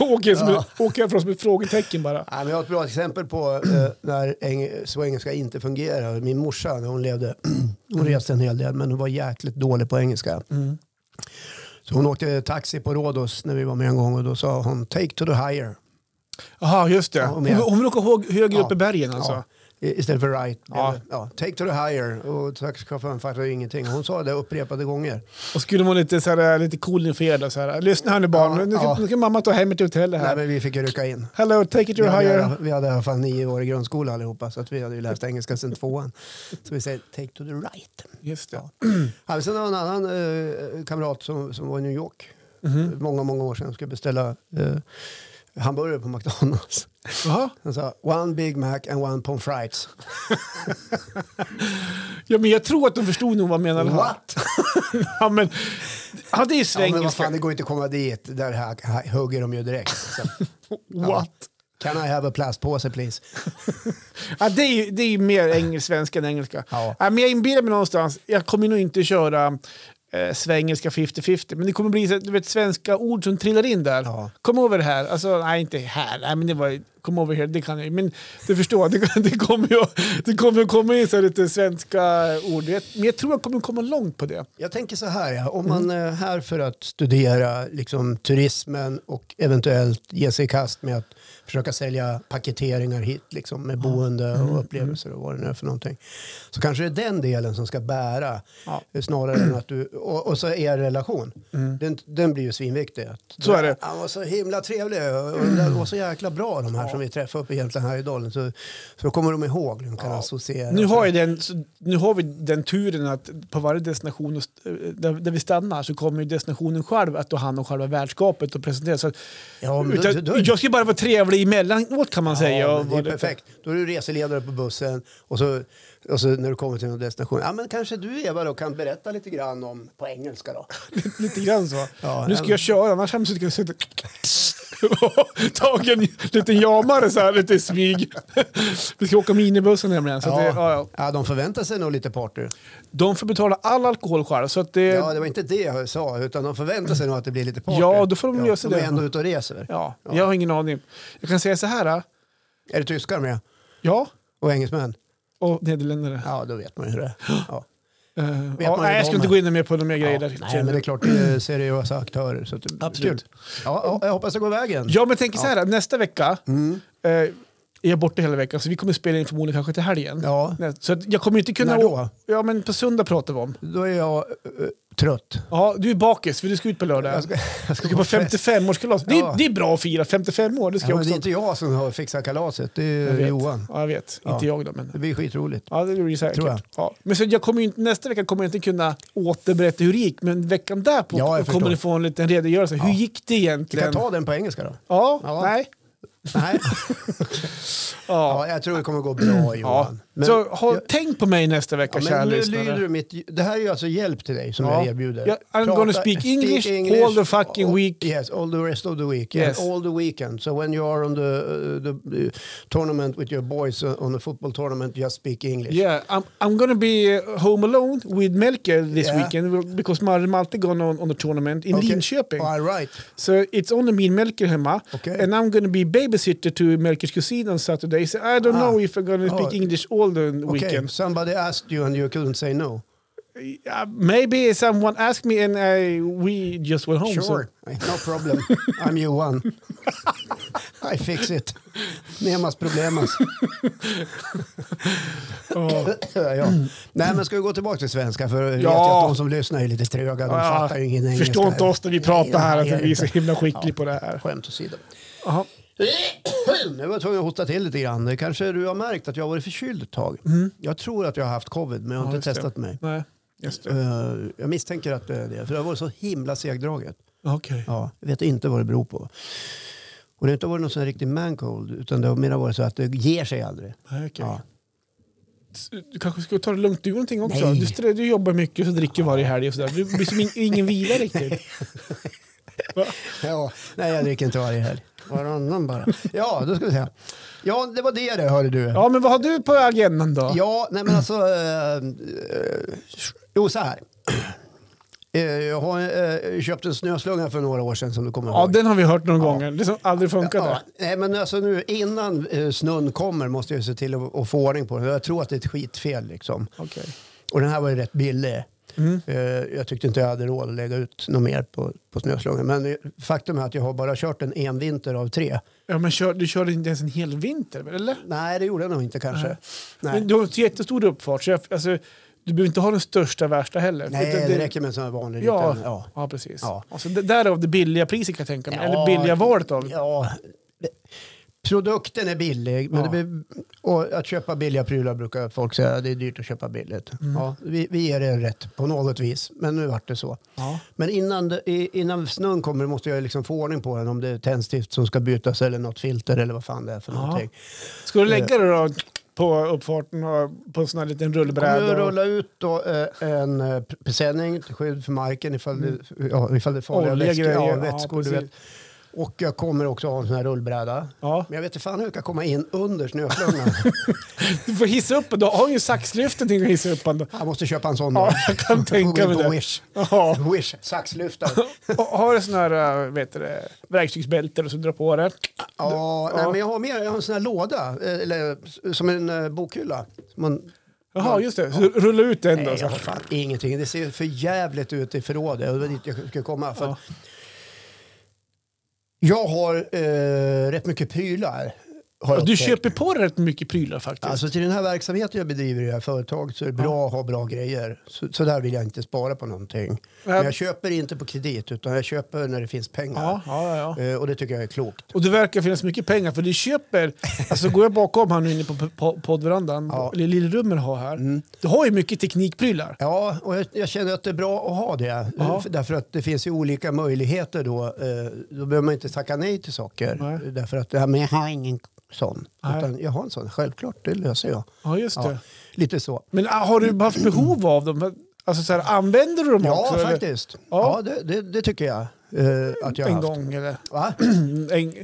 [SPEAKER 2] Åker som
[SPEAKER 1] Ja.
[SPEAKER 2] ett- åker jag från som ett frågetecken bara.
[SPEAKER 1] Ja, men jag har ett bra exempel på eh, när eng- så engelska inte fungerar. Min morsa när hon levde,
[SPEAKER 2] Mm.
[SPEAKER 1] hon reste en hel del men hon var jäkligt dålig på engelska. Så hon åkte taxi på Rhodos när vi var med en gång och då sa hon take to the higher.
[SPEAKER 2] Jaha, just det. Hon,
[SPEAKER 1] men jag-
[SPEAKER 2] hon vill åka hå- högre
[SPEAKER 1] Ja.
[SPEAKER 2] upp i bergen alltså.
[SPEAKER 1] Ja, i- istället för right.
[SPEAKER 2] Ja.
[SPEAKER 1] Eller, ja, take to the higher. Och taxichauffören fattade ju ingenting. Hon sa det upprepade gånger.
[SPEAKER 2] Och skulle man lite, så här, eh, lite cool inför då, så här. Lyssna här nu barn,
[SPEAKER 1] Ja,
[SPEAKER 2] nu, ska,
[SPEAKER 1] ja.
[SPEAKER 2] nu ska mamma ta hem er till hotellet här.
[SPEAKER 1] Nej, men vi fick ju rycka in.
[SPEAKER 2] Hello, take it
[SPEAKER 1] Vi
[SPEAKER 2] your higher.
[SPEAKER 1] hade, vi hade i alla fall nio år i grundskola allihopa så att vi hade ju läst engelska sedan tvåan. Så vi säger take to the right.
[SPEAKER 2] Just det.
[SPEAKER 1] Ja, men sen har jag en annan eh, kamrat som, som var i New York många, många år sedan och skulle beställa eh, hamburgare på McDonalds.
[SPEAKER 2] Jaha.
[SPEAKER 1] Han sa one Big Mac and one pommes frites.
[SPEAKER 2] Ja, men jag tror att de förstod nog vad jag menade. här.
[SPEAKER 1] What?
[SPEAKER 2] Ja, men, ja, det
[SPEAKER 1] Ja, men
[SPEAKER 2] är
[SPEAKER 1] vad
[SPEAKER 2] svengelska.
[SPEAKER 1] fan, det går inte att komma dit. Där här, här, hugger de ju direkt. Så,
[SPEAKER 2] What?
[SPEAKER 1] Can I have a plastpåse please?
[SPEAKER 2] Ja, det, är ju, det är ju mer engelsvenska än engelska.
[SPEAKER 1] Ja.
[SPEAKER 2] men jag inbillar mig någonstans, jag kommer nog inte köra eh, svengelska 50-50, men det kommer bli så, du vet, svenska ord som trillar in där.
[SPEAKER 1] Ja.
[SPEAKER 2] Kom över det här. Alltså, nej, inte här. Nej, men det var ju come over here, det kan jag ju. Men du förstår, det, det kommer ju det kommer ju komma in så här lite svenska ord. Jag- Men jag tror jag kommer komma långt på det.
[SPEAKER 1] Jag tänker så här, ja. om
[SPEAKER 2] Mm.
[SPEAKER 1] man är här för att studera liksom, turismen och eventuellt ge sig i kast med att försöka sälja paketeringar hit liksom, med boende
[SPEAKER 2] Mm,
[SPEAKER 1] och upplevelser och vad det nu är för någonting. Så kanske det är den delen som ska bära
[SPEAKER 2] Ja. Mm.
[SPEAKER 1] eh, snarare än att du, och, och så er relation. Den, den blir ju svinviktig. Att,
[SPEAKER 2] Så är det.
[SPEAKER 1] Han var så himla trevlig och, och det var så jäkla bra de här som vi träffade uppe i Jämtland Härjedalen. Så, så kommer de ihåg, de kan associera.
[SPEAKER 2] Nu har, ju den, så- nu har vi den turen att på varje destination och st- där, där vi stannar så kommer ju destinationen själv att ta hand om själva värdskapet och presentera. Så att,
[SPEAKER 1] Ja, men då-
[SPEAKER 2] utan,
[SPEAKER 1] då- då-
[SPEAKER 2] jag ska bara vara trevlig emellanåt kan man säga.
[SPEAKER 1] Ja,
[SPEAKER 2] och
[SPEAKER 1] men
[SPEAKER 2] vara
[SPEAKER 1] det är
[SPEAKER 2] lite-
[SPEAKER 1] perfekt. Då är du reseledare på bussen och så, och så när du kommer till någon destination. Ja, men kanske du Eva då kan berätta lite grann om på engelska då.
[SPEAKER 2] Lite grann så.
[SPEAKER 1] Ja,
[SPEAKER 2] nu ska
[SPEAKER 1] ja.
[SPEAKER 2] jag köra, annars hade jag suttit tagit en liten jamare så här lite i smyg. Vi ska åka minibussen nämligen. Så att det, ja, Eh. ja.
[SPEAKER 1] ja, de förväntar sig nog lite party.
[SPEAKER 2] De får betala all alkohol själv. Så att det,
[SPEAKER 1] Ja, det var inte det jag sa, utan de förväntar sig nog att det blir lite party.
[SPEAKER 2] Ja, då får de lösa
[SPEAKER 1] De
[SPEAKER 2] det.
[SPEAKER 1] är ändå ute och reser.
[SPEAKER 2] ja, jag har ingen aning. Jag kan säga så här.
[SPEAKER 1] Är det tyskar med?
[SPEAKER 2] Ja,
[SPEAKER 1] Och engelsmän?
[SPEAKER 2] och nederländare.
[SPEAKER 1] Ja, då vet man ju hur det är. Ja.
[SPEAKER 2] Eh,
[SPEAKER 1] Vet
[SPEAKER 2] ja,
[SPEAKER 1] man ju
[SPEAKER 2] nej,
[SPEAKER 1] dem.
[SPEAKER 2] jag ska inte gå in mer på de mer grejer.
[SPEAKER 1] Ja,
[SPEAKER 2] där.
[SPEAKER 1] nej, men det är klart, det är seriösa aktörer. Så att det,
[SPEAKER 2] Absolut.
[SPEAKER 1] Kul. Ja, ja, jag hoppas det går vägen.
[SPEAKER 2] Ja, men tänk så här. Nästa vecka
[SPEAKER 1] Mm.
[SPEAKER 2] eh, är jag borta hela veckan, så vi kommer spela in förmodligen kanske till helgen.
[SPEAKER 1] Ja.
[SPEAKER 2] Nej, Så att jag kommer inte kunna...
[SPEAKER 1] När då?
[SPEAKER 2] Ja, men på söndag pratar vi om.
[SPEAKER 1] Då är jag eh, trött.
[SPEAKER 2] Ja, du är bakis för du ska ut på lördag.
[SPEAKER 1] Jag ska- jag ska
[SPEAKER 2] du ska på
[SPEAKER 1] på fest.
[SPEAKER 2] 55-årskalas. Det, är-
[SPEAKER 1] Ja.
[SPEAKER 2] det är bra att fira 55 år, det ska
[SPEAKER 1] Ja,
[SPEAKER 2] jag
[SPEAKER 1] men det
[SPEAKER 2] också.
[SPEAKER 1] är inte jag som har fixat kalaset, det är
[SPEAKER 2] Jag vet.
[SPEAKER 1] Johan.
[SPEAKER 2] Ja, jag vet.
[SPEAKER 1] Ja.
[SPEAKER 2] Inte jag då,
[SPEAKER 1] Det
[SPEAKER 2] men...
[SPEAKER 1] blir skitroligt.
[SPEAKER 2] Ja, det blir ju säkert.
[SPEAKER 1] Tror jag.
[SPEAKER 2] Ja. Men så jag kommer ju inte, nästa vecka kommer jag inte kunna återberätta hur det gick, men veckan
[SPEAKER 1] Ja,
[SPEAKER 2] därpå
[SPEAKER 1] jag
[SPEAKER 2] kommer
[SPEAKER 1] förstår.
[SPEAKER 2] du få en liten redogörelse. Hur gick det
[SPEAKER 1] Vi
[SPEAKER 2] egentligen?
[SPEAKER 1] kan ta den på engelska då.
[SPEAKER 2] Ja,
[SPEAKER 1] Ja.
[SPEAKER 2] nej.
[SPEAKER 1] Nej,
[SPEAKER 2] Ja.
[SPEAKER 1] ja, jag tror det kommer gå bra
[SPEAKER 2] Ja.
[SPEAKER 1] Johan. Men,
[SPEAKER 2] så ha,
[SPEAKER 1] jag-
[SPEAKER 2] tänk på mig nästa vecka,
[SPEAKER 1] ja,
[SPEAKER 2] kära
[SPEAKER 1] men nu lyder du mitt, det här är ju alltså hjälp till dig som
[SPEAKER 2] Ja.
[SPEAKER 1] jag erbjuder.
[SPEAKER 2] Ja, I'm gonna speak English all the fucking
[SPEAKER 1] all-
[SPEAKER 2] week.
[SPEAKER 1] Yes, all the rest of the week. and
[SPEAKER 2] Yes.
[SPEAKER 1] All the weekend. So when you are on the, uh, the, the tournament with your boys uh, on the football tournament, just speak English.
[SPEAKER 2] Yeah, I'm, I'm gonna be uh, home alone with Melker this
[SPEAKER 1] Yeah.
[SPEAKER 2] weekend because Mario Malte gone on, on the tournament in
[SPEAKER 1] Okay.
[SPEAKER 2] Linköping.
[SPEAKER 1] All right.
[SPEAKER 2] So it's only me and Melker hemma.
[SPEAKER 1] Okay.
[SPEAKER 2] And I'm gonna be babysitter to Melkers cousin on Saturday. So I don't
[SPEAKER 1] Ah.
[SPEAKER 2] know if I'm gonna speak
[SPEAKER 1] Oh.
[SPEAKER 2] English all the
[SPEAKER 1] Okay,
[SPEAKER 2] weekend.
[SPEAKER 1] somebody asked you and you couldn't say no.
[SPEAKER 2] Uh, maybe someone asked me and I, we just went home. so-
[SPEAKER 1] Sure, no problem. I'm Johan. I fix it. Nemas problemas.
[SPEAKER 2] Ja.
[SPEAKER 1] ja. Nej, men ska vi gå tillbaka till svenska? För jag vet
[SPEAKER 2] Ja.
[SPEAKER 1] ju att de som lyssnar är lite tröga. De
[SPEAKER 2] Ja,
[SPEAKER 1] fattar ju ingen engelska.
[SPEAKER 2] Förstår inte oss när vi pratar här,
[SPEAKER 1] Nej,
[SPEAKER 2] att vi är så himla skickliga
[SPEAKER 1] Ja.
[SPEAKER 2] på det här.
[SPEAKER 1] Skämt åsido.
[SPEAKER 2] Jaha.
[SPEAKER 1] Nu var jag tvungen att hosta till lite grann. Det Kanske du har märkt att jag har varit förkyld ett tag. Jag tror att jag har haft covid, men jag har
[SPEAKER 2] Mm. Ja,
[SPEAKER 1] inte
[SPEAKER 2] just
[SPEAKER 1] testat
[SPEAKER 2] det.
[SPEAKER 1] mig.
[SPEAKER 2] Nej, just det.
[SPEAKER 1] Eh, Jag misstänker att det är det, för det har varit så himla segdraget.
[SPEAKER 2] Eh, Okej.
[SPEAKER 1] Ja, jag vet inte vad det beror på. Och det har inte varit någon sån här riktig mancold utan det har mer varit så att det ger sig aldrig.
[SPEAKER 2] Nej, okej.
[SPEAKER 1] Ja.
[SPEAKER 2] Du kanske skulle ta det lugnt du någonting också?
[SPEAKER 1] Nej.
[SPEAKER 2] Du, strö- du jobbar mycket och så dricker varje helg och sådär. Du blir som in, ingen vila riktigt.
[SPEAKER 1] Ja, nej, jag dricker inte varje helg. Varannan bara. Ja, då ska vi se. Ja, det var det det, hörde du.
[SPEAKER 2] Ja, men vad har du på agendan då?
[SPEAKER 1] Ja, nej men alltså... Eh, eh, jo, så här. Eh, jag har eh, köpt en snöslunga för några år sedan som du kommer
[SPEAKER 2] Ja,
[SPEAKER 1] ihåg.
[SPEAKER 2] den har vi hört några gånger. Det som aldrig funkat.
[SPEAKER 1] Ja,
[SPEAKER 2] där.
[SPEAKER 1] nej, men alltså nu innan eh, snön kommer måste jag ju se till att, att få ordning på den. Jag tror att det är ett skitfel liksom.
[SPEAKER 2] Okej.
[SPEAKER 1] Och den här var ju rätt billig. Eh, Jag tyckte inte jag hade råd att lägga ut något mer på, på snöslungan. Men eh, faktum är att jag har bara kört den en vinter av tre.
[SPEAKER 2] Ja, men kör, du körde inte ens en hel vinter, eller?
[SPEAKER 1] Nej, det gjorde jag nog inte kanske. Nej,
[SPEAKER 2] Men du har en jättestor uppfart, så jag, alltså, du behöver inte ha den största värsta heller.
[SPEAKER 1] Nej
[SPEAKER 2] Utan
[SPEAKER 1] det, räcker med en sån här vanlig
[SPEAKER 2] Ja,
[SPEAKER 1] liten.
[SPEAKER 2] ja.
[SPEAKER 1] Ja.
[SPEAKER 2] precis.
[SPEAKER 1] Ja.
[SPEAKER 2] Alltså, det, därav det billiga priset kan jag tänka mig. Eller
[SPEAKER 1] Ja,
[SPEAKER 2] billiga valet av det.
[SPEAKER 1] ja. det- Produkten är billig, men
[SPEAKER 2] Ja.
[SPEAKER 1] det blir, och att köpa billiga prylar brukar folk säga det är dyrt att köpa billigt.
[SPEAKER 2] Mm.
[SPEAKER 1] Ja, vi, vi ger er rätt på något vis, men nu vart det så.
[SPEAKER 2] Ja.
[SPEAKER 1] Men innan, det- i- innan snön kommer måste jag liksom få ordning på den om det är tändstift som ska bytas eller något filter eller vad fan det är för
[SPEAKER 2] Ja.
[SPEAKER 1] någonting.
[SPEAKER 2] Ska du
[SPEAKER 1] Eh.
[SPEAKER 2] lägga det då på uppfarten och på en sån här liten
[SPEAKER 1] Om
[SPEAKER 2] rullbräda?
[SPEAKER 1] du
[SPEAKER 2] och-
[SPEAKER 1] rullar ut då, eh, en eh, p- presenning till skydd för marken ifall det, ja, ifall det är farliga
[SPEAKER 2] Mm. Olja,
[SPEAKER 1] vätskor,
[SPEAKER 2] grejer,
[SPEAKER 1] ja,
[SPEAKER 2] ja,
[SPEAKER 1] vätskor du
[SPEAKER 2] precis.
[SPEAKER 1] vet. Och jag kommer också ha en sån här rullbräda.
[SPEAKER 2] Ja.
[SPEAKER 1] Men jag vet inte fan hur jag kan komma in under snöflungan.
[SPEAKER 2] Du får hissa upp den. Då har ju saxlyftet till att hissa upp den.
[SPEAKER 1] jag måste köpa en sån. då.
[SPEAKER 2] Ja, jag kan
[SPEAKER 1] Jag får gå in
[SPEAKER 2] tänka mig
[SPEAKER 1] på
[SPEAKER 2] det.
[SPEAKER 1] Wish.
[SPEAKER 2] Ja.
[SPEAKER 1] Wish, saxlyftare.
[SPEAKER 2] Och har du sån här, äh, vet du det, verktygsbälte och så drar på det.
[SPEAKER 1] Ja, nej,
[SPEAKER 2] Ja.
[SPEAKER 1] men jag har med jag har en sån här låda, eh, eller s- som en eh, bokhylla. Man,
[SPEAKER 2] Jaha, just det. Så rulla ut den då.
[SPEAKER 1] nej,
[SPEAKER 2] Så.
[SPEAKER 1] jag har fan ingenting. Det ser för jävligt ut i förrådet. och Det var dit jag skulle komma. För att Jag har eh, rätt mycket prylar. Har jag
[SPEAKER 2] Du
[SPEAKER 1] upptäckt.
[SPEAKER 2] köper på dig rätt mycket prylar faktiskt.
[SPEAKER 1] Alltså till den här verksamheten jag bedriver i det här företaget så är det bra att ha bra grejer. Så, så där vill jag inte spara på någonting. Men jag köper inte på kredit utan jag köper när det finns pengar.
[SPEAKER 2] ja, ja, ja.
[SPEAKER 1] Eh, och det tycker jag är klokt.
[SPEAKER 2] Och det verkar finnas mycket pengar för du köper, alltså går jag bakom här nu inne på po- poddverandan,
[SPEAKER 1] Ja. Mm.
[SPEAKER 2] eller lillrummet jag har här, du har ju mycket teknikprylar.
[SPEAKER 1] Ja, och jag, jag känner att det är bra att ha det. Eh,
[SPEAKER 2] Ja.
[SPEAKER 1] För- Därför att det finns ju olika möjligheter då. Eh, Då behöver man inte tacka nej till saker.
[SPEAKER 2] Nej.
[SPEAKER 1] Därför att det här med jag har ingen sån.
[SPEAKER 2] Nej.
[SPEAKER 1] Utan jag har en sån, självklart, det löser jag.
[SPEAKER 2] Ja, just det.
[SPEAKER 1] Ja, lite så.
[SPEAKER 2] Men ah, har du haft behov av dem? Alltså så här, använder du dem
[SPEAKER 1] Ja,
[SPEAKER 2] också? eller?
[SPEAKER 1] faktiskt.
[SPEAKER 2] Ja.
[SPEAKER 1] Ja, det, det, det tycker jag eh, att jag har
[SPEAKER 2] En
[SPEAKER 1] haft.
[SPEAKER 2] gång eller?
[SPEAKER 1] Va?
[SPEAKER 2] En,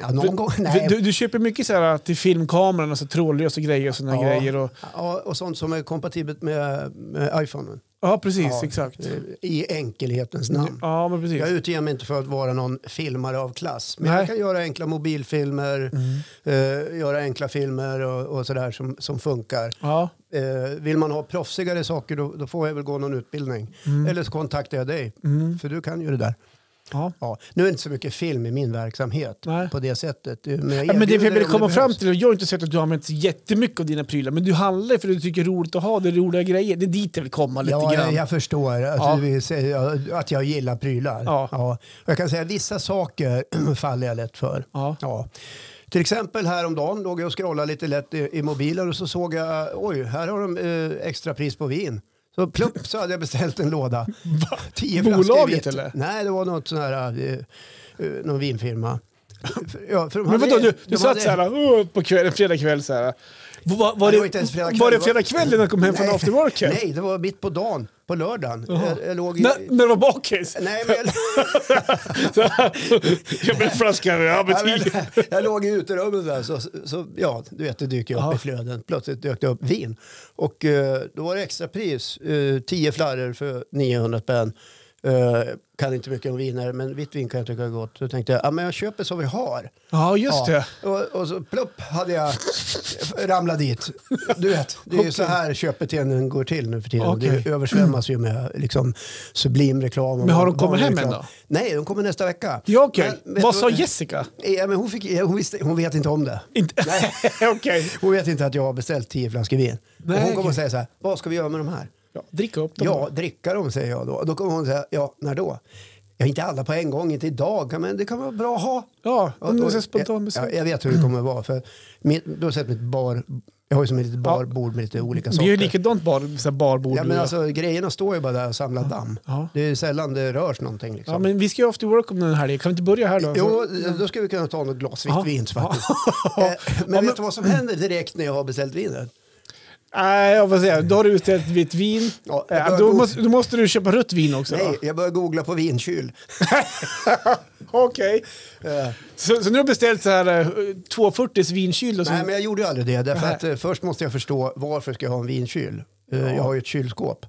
[SPEAKER 1] Ja, någon gång. Nej.
[SPEAKER 2] du, du köper mycket så här, till filmkameran, alltså trådlösa grejer och sådana
[SPEAKER 1] Ja.
[SPEAKER 2] grejer. Och,
[SPEAKER 1] Ja, och sånt som är kompatibelt med, med iPhonen.
[SPEAKER 2] ja, precis.
[SPEAKER 1] Ja.
[SPEAKER 2] Exakt.
[SPEAKER 1] Eh, I enkelhetens namn.
[SPEAKER 2] Ja, men precis.
[SPEAKER 1] Jag utger mig inte för att vara någon filmare av klass. Men
[SPEAKER 2] Nej. Mm.
[SPEAKER 1] jag kan göra enkla mobilfilmer, eh, göra enkla filmer och, och sådär som, som funkar.
[SPEAKER 2] Ja.
[SPEAKER 1] Eh, vill man ha proffsigare saker då, då får jag väl gå någon utbildning.
[SPEAKER 2] Mm.
[SPEAKER 1] Eller så kontaktar jag dig, för du kan ju det där.
[SPEAKER 2] Ja.
[SPEAKER 1] Ja. Nu är det inte så mycket film i min verksamhet
[SPEAKER 2] Nej.
[SPEAKER 1] på det sättet. eh, Men, jag
[SPEAKER 2] Ja, men det
[SPEAKER 1] erbjuder
[SPEAKER 2] jag vill
[SPEAKER 1] om
[SPEAKER 2] komma fram
[SPEAKER 1] behövs.
[SPEAKER 2] till, och jag har inte sett att du har använt jättemycket av dina prylar, men du handlar ju för att du tycker det är roligt att ha det, roliga grejer. Det är dit jag vill komma lite
[SPEAKER 1] Ja,
[SPEAKER 2] grann.
[SPEAKER 1] jag, jag förstår att,
[SPEAKER 2] Ja.
[SPEAKER 1] du vill säga att jag gillar prylar.
[SPEAKER 2] Ja.
[SPEAKER 1] Och Jag kan säga att vissa saker faller jag lätt för.
[SPEAKER 2] Ja.
[SPEAKER 1] Till exempel häromdagen låg jag och scrollade lite lätt i, i mobilen och så såg jag oj, här har de eh, extra pris på vin. Så plupp så hade jag beställt en låda. Tio flaskor
[SPEAKER 2] Bolaget,
[SPEAKER 1] vitt.
[SPEAKER 2] eller?
[SPEAKER 1] Nej, det var något sån här, eh, eh, någon vinfirma. För- Ja, för de
[SPEAKER 2] Men
[SPEAKER 1] hade-
[SPEAKER 2] vadå, du, du
[SPEAKER 1] de
[SPEAKER 2] satt
[SPEAKER 1] hade-
[SPEAKER 2] såhär åh, på kväll, fredag kväll såhär. Var, var,
[SPEAKER 1] Ja, det
[SPEAKER 2] det,
[SPEAKER 1] var inte ens fredag kväll,
[SPEAKER 2] var det
[SPEAKER 1] va?
[SPEAKER 2] fredag kväll när du kom hem från
[SPEAKER 1] Nej.
[SPEAKER 2] afterworken?
[SPEAKER 1] Nej, det var mitt på dagen, på lördagen. Jag, jag låg i...
[SPEAKER 2] När, när du var bakis?
[SPEAKER 1] Nej, men jag...
[SPEAKER 2] Så här, jag blev flaska
[SPEAKER 1] Ja, men,
[SPEAKER 2] rödbetyg.
[SPEAKER 1] jag låg i uterummet där så, så ja, du vet det dyker upp
[SPEAKER 2] Ja.
[SPEAKER 1] i flöden. Plötsligt dök det upp vin. Och eh, då var det extra pris. Eh, 10 flarror för 900 spänn. Eh, kan inte mycket om viner men vitt vin kan jag tycka är gott. Då tänkte jag, ja men jag köper som vi har.
[SPEAKER 2] Ja, just det.
[SPEAKER 1] Och, och så plupp hade jag ramlat dit. Du vet, det är ju så här köpbeteenden går till nu för tiden.
[SPEAKER 2] Okej.
[SPEAKER 1] Det översvämmas ju med liksom, sublim reklam. och
[SPEAKER 2] Men har de kommit
[SPEAKER 1] vanlig
[SPEAKER 2] hem
[SPEAKER 1] reklam.
[SPEAKER 2] än då?
[SPEAKER 1] Nej, de kommer nästa vecka.
[SPEAKER 2] Ja, okej.
[SPEAKER 1] Men vet
[SPEAKER 2] Vad
[SPEAKER 1] du
[SPEAKER 2] sa Jessica?
[SPEAKER 1] Eh, Ja, men hon, fick, hon, visste, hon vet inte om det.
[SPEAKER 2] Inte.
[SPEAKER 1] Nej.
[SPEAKER 2] Okej.
[SPEAKER 1] Hon vet inte att jag har beställt tio flaskor vin.
[SPEAKER 2] Nej,
[SPEAKER 1] och hon kommer
[SPEAKER 2] okej.
[SPEAKER 1] att säga så här, vad ska vi göra med de här?
[SPEAKER 2] Ja, drick upp dem.
[SPEAKER 1] Ja, dricka dem säger jag då. Då kommer hon säga, ja, när då? Ja, inte alla på en gång, inte idag, men det kan vara bra att ha.
[SPEAKER 2] ja
[SPEAKER 1] Och-
[SPEAKER 2] de Mm, är
[SPEAKER 1] och-
[SPEAKER 2] så spontan besök.
[SPEAKER 1] ja, Jag vet hur det kommer att vara. För min, du har sett mitt bar, jag har ju som ett litet barbord med lite olika
[SPEAKER 2] Det är
[SPEAKER 1] saker.
[SPEAKER 2] ju likadant bar, så här barbord.
[SPEAKER 1] ja, men alltså, grejerna står ju bara där och samlar damm.
[SPEAKER 2] Ja.
[SPEAKER 1] Det är ju sällan det rörs någonting. Liksom.
[SPEAKER 2] ja, men vi ska ju after work om den här Kan vi inte börja här då?
[SPEAKER 1] Jo, då skulle vi kunna ta något glas vitt
[SPEAKER 2] Ja.
[SPEAKER 1] vin faktiskt. Eh, men vet du vad som händer direkt när jag har beställt vinet?
[SPEAKER 2] Nej, jag får säga, då har du beställt vitt vin.
[SPEAKER 1] Ja, jag
[SPEAKER 2] Eh,
[SPEAKER 1] börjar
[SPEAKER 2] då,
[SPEAKER 1] gå-
[SPEAKER 2] måste, då måste du köpa rött vin också. va?
[SPEAKER 1] Nej, jag börjar googla på vinkyl.
[SPEAKER 2] Okej.
[SPEAKER 1] Eh,
[SPEAKER 2] Så, så nu har du beställt så här eh, 240s vinkyl? Och så,
[SPEAKER 1] Nej, men jag gjorde ju aldrig det. Därför
[SPEAKER 2] Nej.
[SPEAKER 1] att, eh, först måste jag förstå varför ska jag ha en vinkyl. Eh, Jag har ju ett kylskåp.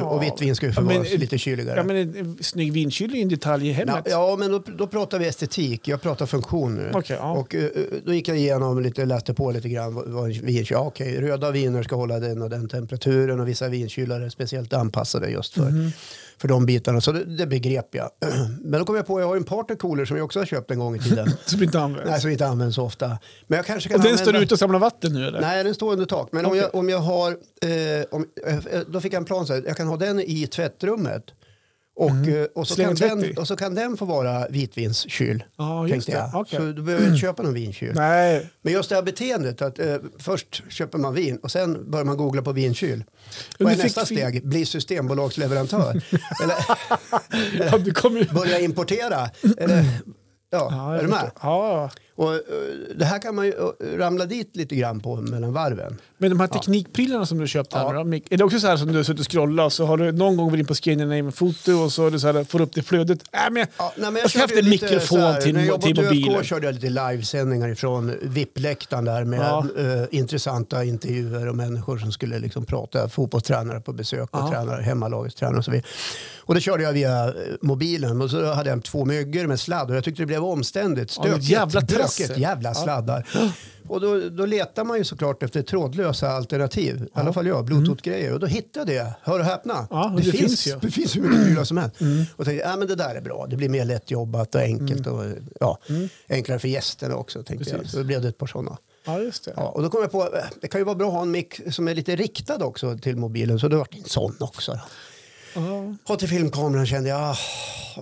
[SPEAKER 1] Och vitt vin ska ju
[SPEAKER 2] Ja, men-
[SPEAKER 1] förvaras lite kyligare.
[SPEAKER 2] Ja, men en, en snygg vinkyl är ju en detalj i
[SPEAKER 1] Ja,
[SPEAKER 2] hemmet.
[SPEAKER 1] ja, men då, då pratar vi estetik. Jag pratar funktion nu.
[SPEAKER 2] Okej, ja.
[SPEAKER 1] Och eh, då gick jag igenom lite, läste på lite grann vad, vad en vinkyl... Ja, okej, röda viner ska hålla den och den temperaturen och vissa vinkylar är speciellt anpassade just för,
[SPEAKER 2] Mhm.
[SPEAKER 1] för de bitarna. Så det, det begrep jag. Men då kom jag på att jag har en partycooler som jag också har köpt en gång i tiden.
[SPEAKER 2] Som inte används.
[SPEAKER 1] Nej, som inte används så ofta. Men jag kanske kan
[SPEAKER 2] och den
[SPEAKER 1] använda...
[SPEAKER 2] står ute och samlar vatten nu eller?
[SPEAKER 1] Nej, den står under tak. Men om,
[SPEAKER 2] Okej.
[SPEAKER 1] jag, om jag har... Eh, om, eh, då fick jag en plan så här. Jag kan ha den i tvättrummet. Och, eh, och, så
[SPEAKER 2] Slänga
[SPEAKER 1] kan
[SPEAKER 2] Mm. tvätt
[SPEAKER 1] den,
[SPEAKER 2] i.
[SPEAKER 1] och så kan den få vara vitvinskyl.
[SPEAKER 2] Ja, just
[SPEAKER 1] tänkte
[SPEAKER 2] det.
[SPEAKER 1] jag.
[SPEAKER 2] Okej. Mm.
[SPEAKER 1] Så du behöver inte köpa någon vinkyl.
[SPEAKER 2] Nej.
[SPEAKER 1] Men just det här beteendet att eh, först köper man vin och sen börjar man googla på vinkyl.
[SPEAKER 2] Men
[SPEAKER 1] Vad är
[SPEAKER 2] du
[SPEAKER 1] nästa
[SPEAKER 2] fick-
[SPEAKER 1] steg? Bli systembolagsleverantör? Eller
[SPEAKER 2] Ja, du kommer ju...
[SPEAKER 1] börja importera? Eller, ja,
[SPEAKER 2] Ja, jag
[SPEAKER 1] är du
[SPEAKER 2] förstår.
[SPEAKER 1] med?
[SPEAKER 2] Ja, ja.
[SPEAKER 1] Och eh, det här kan man ju eh, ramla dit lite grann på mellan varven.
[SPEAKER 2] Men de här teknikprillarna som du köpt här
[SPEAKER 1] Ja.
[SPEAKER 2] nu då, Mick, är det också så här som du har suttit och scrollat och så har du någon gång varit in på Scandinavian Foto och så, är det så här, får du upp det i flödet. Äh, men jag,
[SPEAKER 1] Ja, nej, men
[SPEAKER 2] jag ska haft
[SPEAKER 1] körde
[SPEAKER 2] en
[SPEAKER 1] ju lite
[SPEAKER 2] mikrofon
[SPEAKER 1] så här,
[SPEAKER 2] till,
[SPEAKER 1] När jag
[SPEAKER 2] till
[SPEAKER 1] jobbade på
[SPEAKER 2] mobilen.
[SPEAKER 1] ÖFK körde jag lite livesändningar ifrån VIP-läktaren där med
[SPEAKER 2] Ja.
[SPEAKER 1] eh, intressanta intervjuer och människor som skulle liksom prata fotbollstränare på besök och
[SPEAKER 2] Ja.
[SPEAKER 1] tränare, hemmalagets tränare och så vidare. Och det körde jag via eh, mobilen och så hade jag två myggor med sladd och jag tyckte det blev omständigt.
[SPEAKER 2] Ja, det
[SPEAKER 1] Stökigt,
[SPEAKER 2] jävla trassel.
[SPEAKER 1] bråkigt, jävla sladdar. Och då, då letar man ju såklart efter trådlösa alternativ. I alla fall jag, bluetooth-grejer. Och då hittade jag, hör och häpna,
[SPEAKER 2] Mm. Ja, och det finns ju.
[SPEAKER 1] det finns hur mycket prylar som helst. Och tänkte, ja men det där är bra, det blir mer lättjobbat och enkelt och ja, enklare för gästerna också. Tänkte jag.
[SPEAKER 2] Precis.
[SPEAKER 1] Så det blev det ett par sådana.
[SPEAKER 2] Ja, just det.
[SPEAKER 1] Ja, och då kom jag på, eh, det kan ju vara bra att ha en mick som är lite riktad också till mobilen, så det vart en sån också. Då.
[SPEAKER 2] Ja.
[SPEAKER 1] Och till filmkameran kände jag, ah,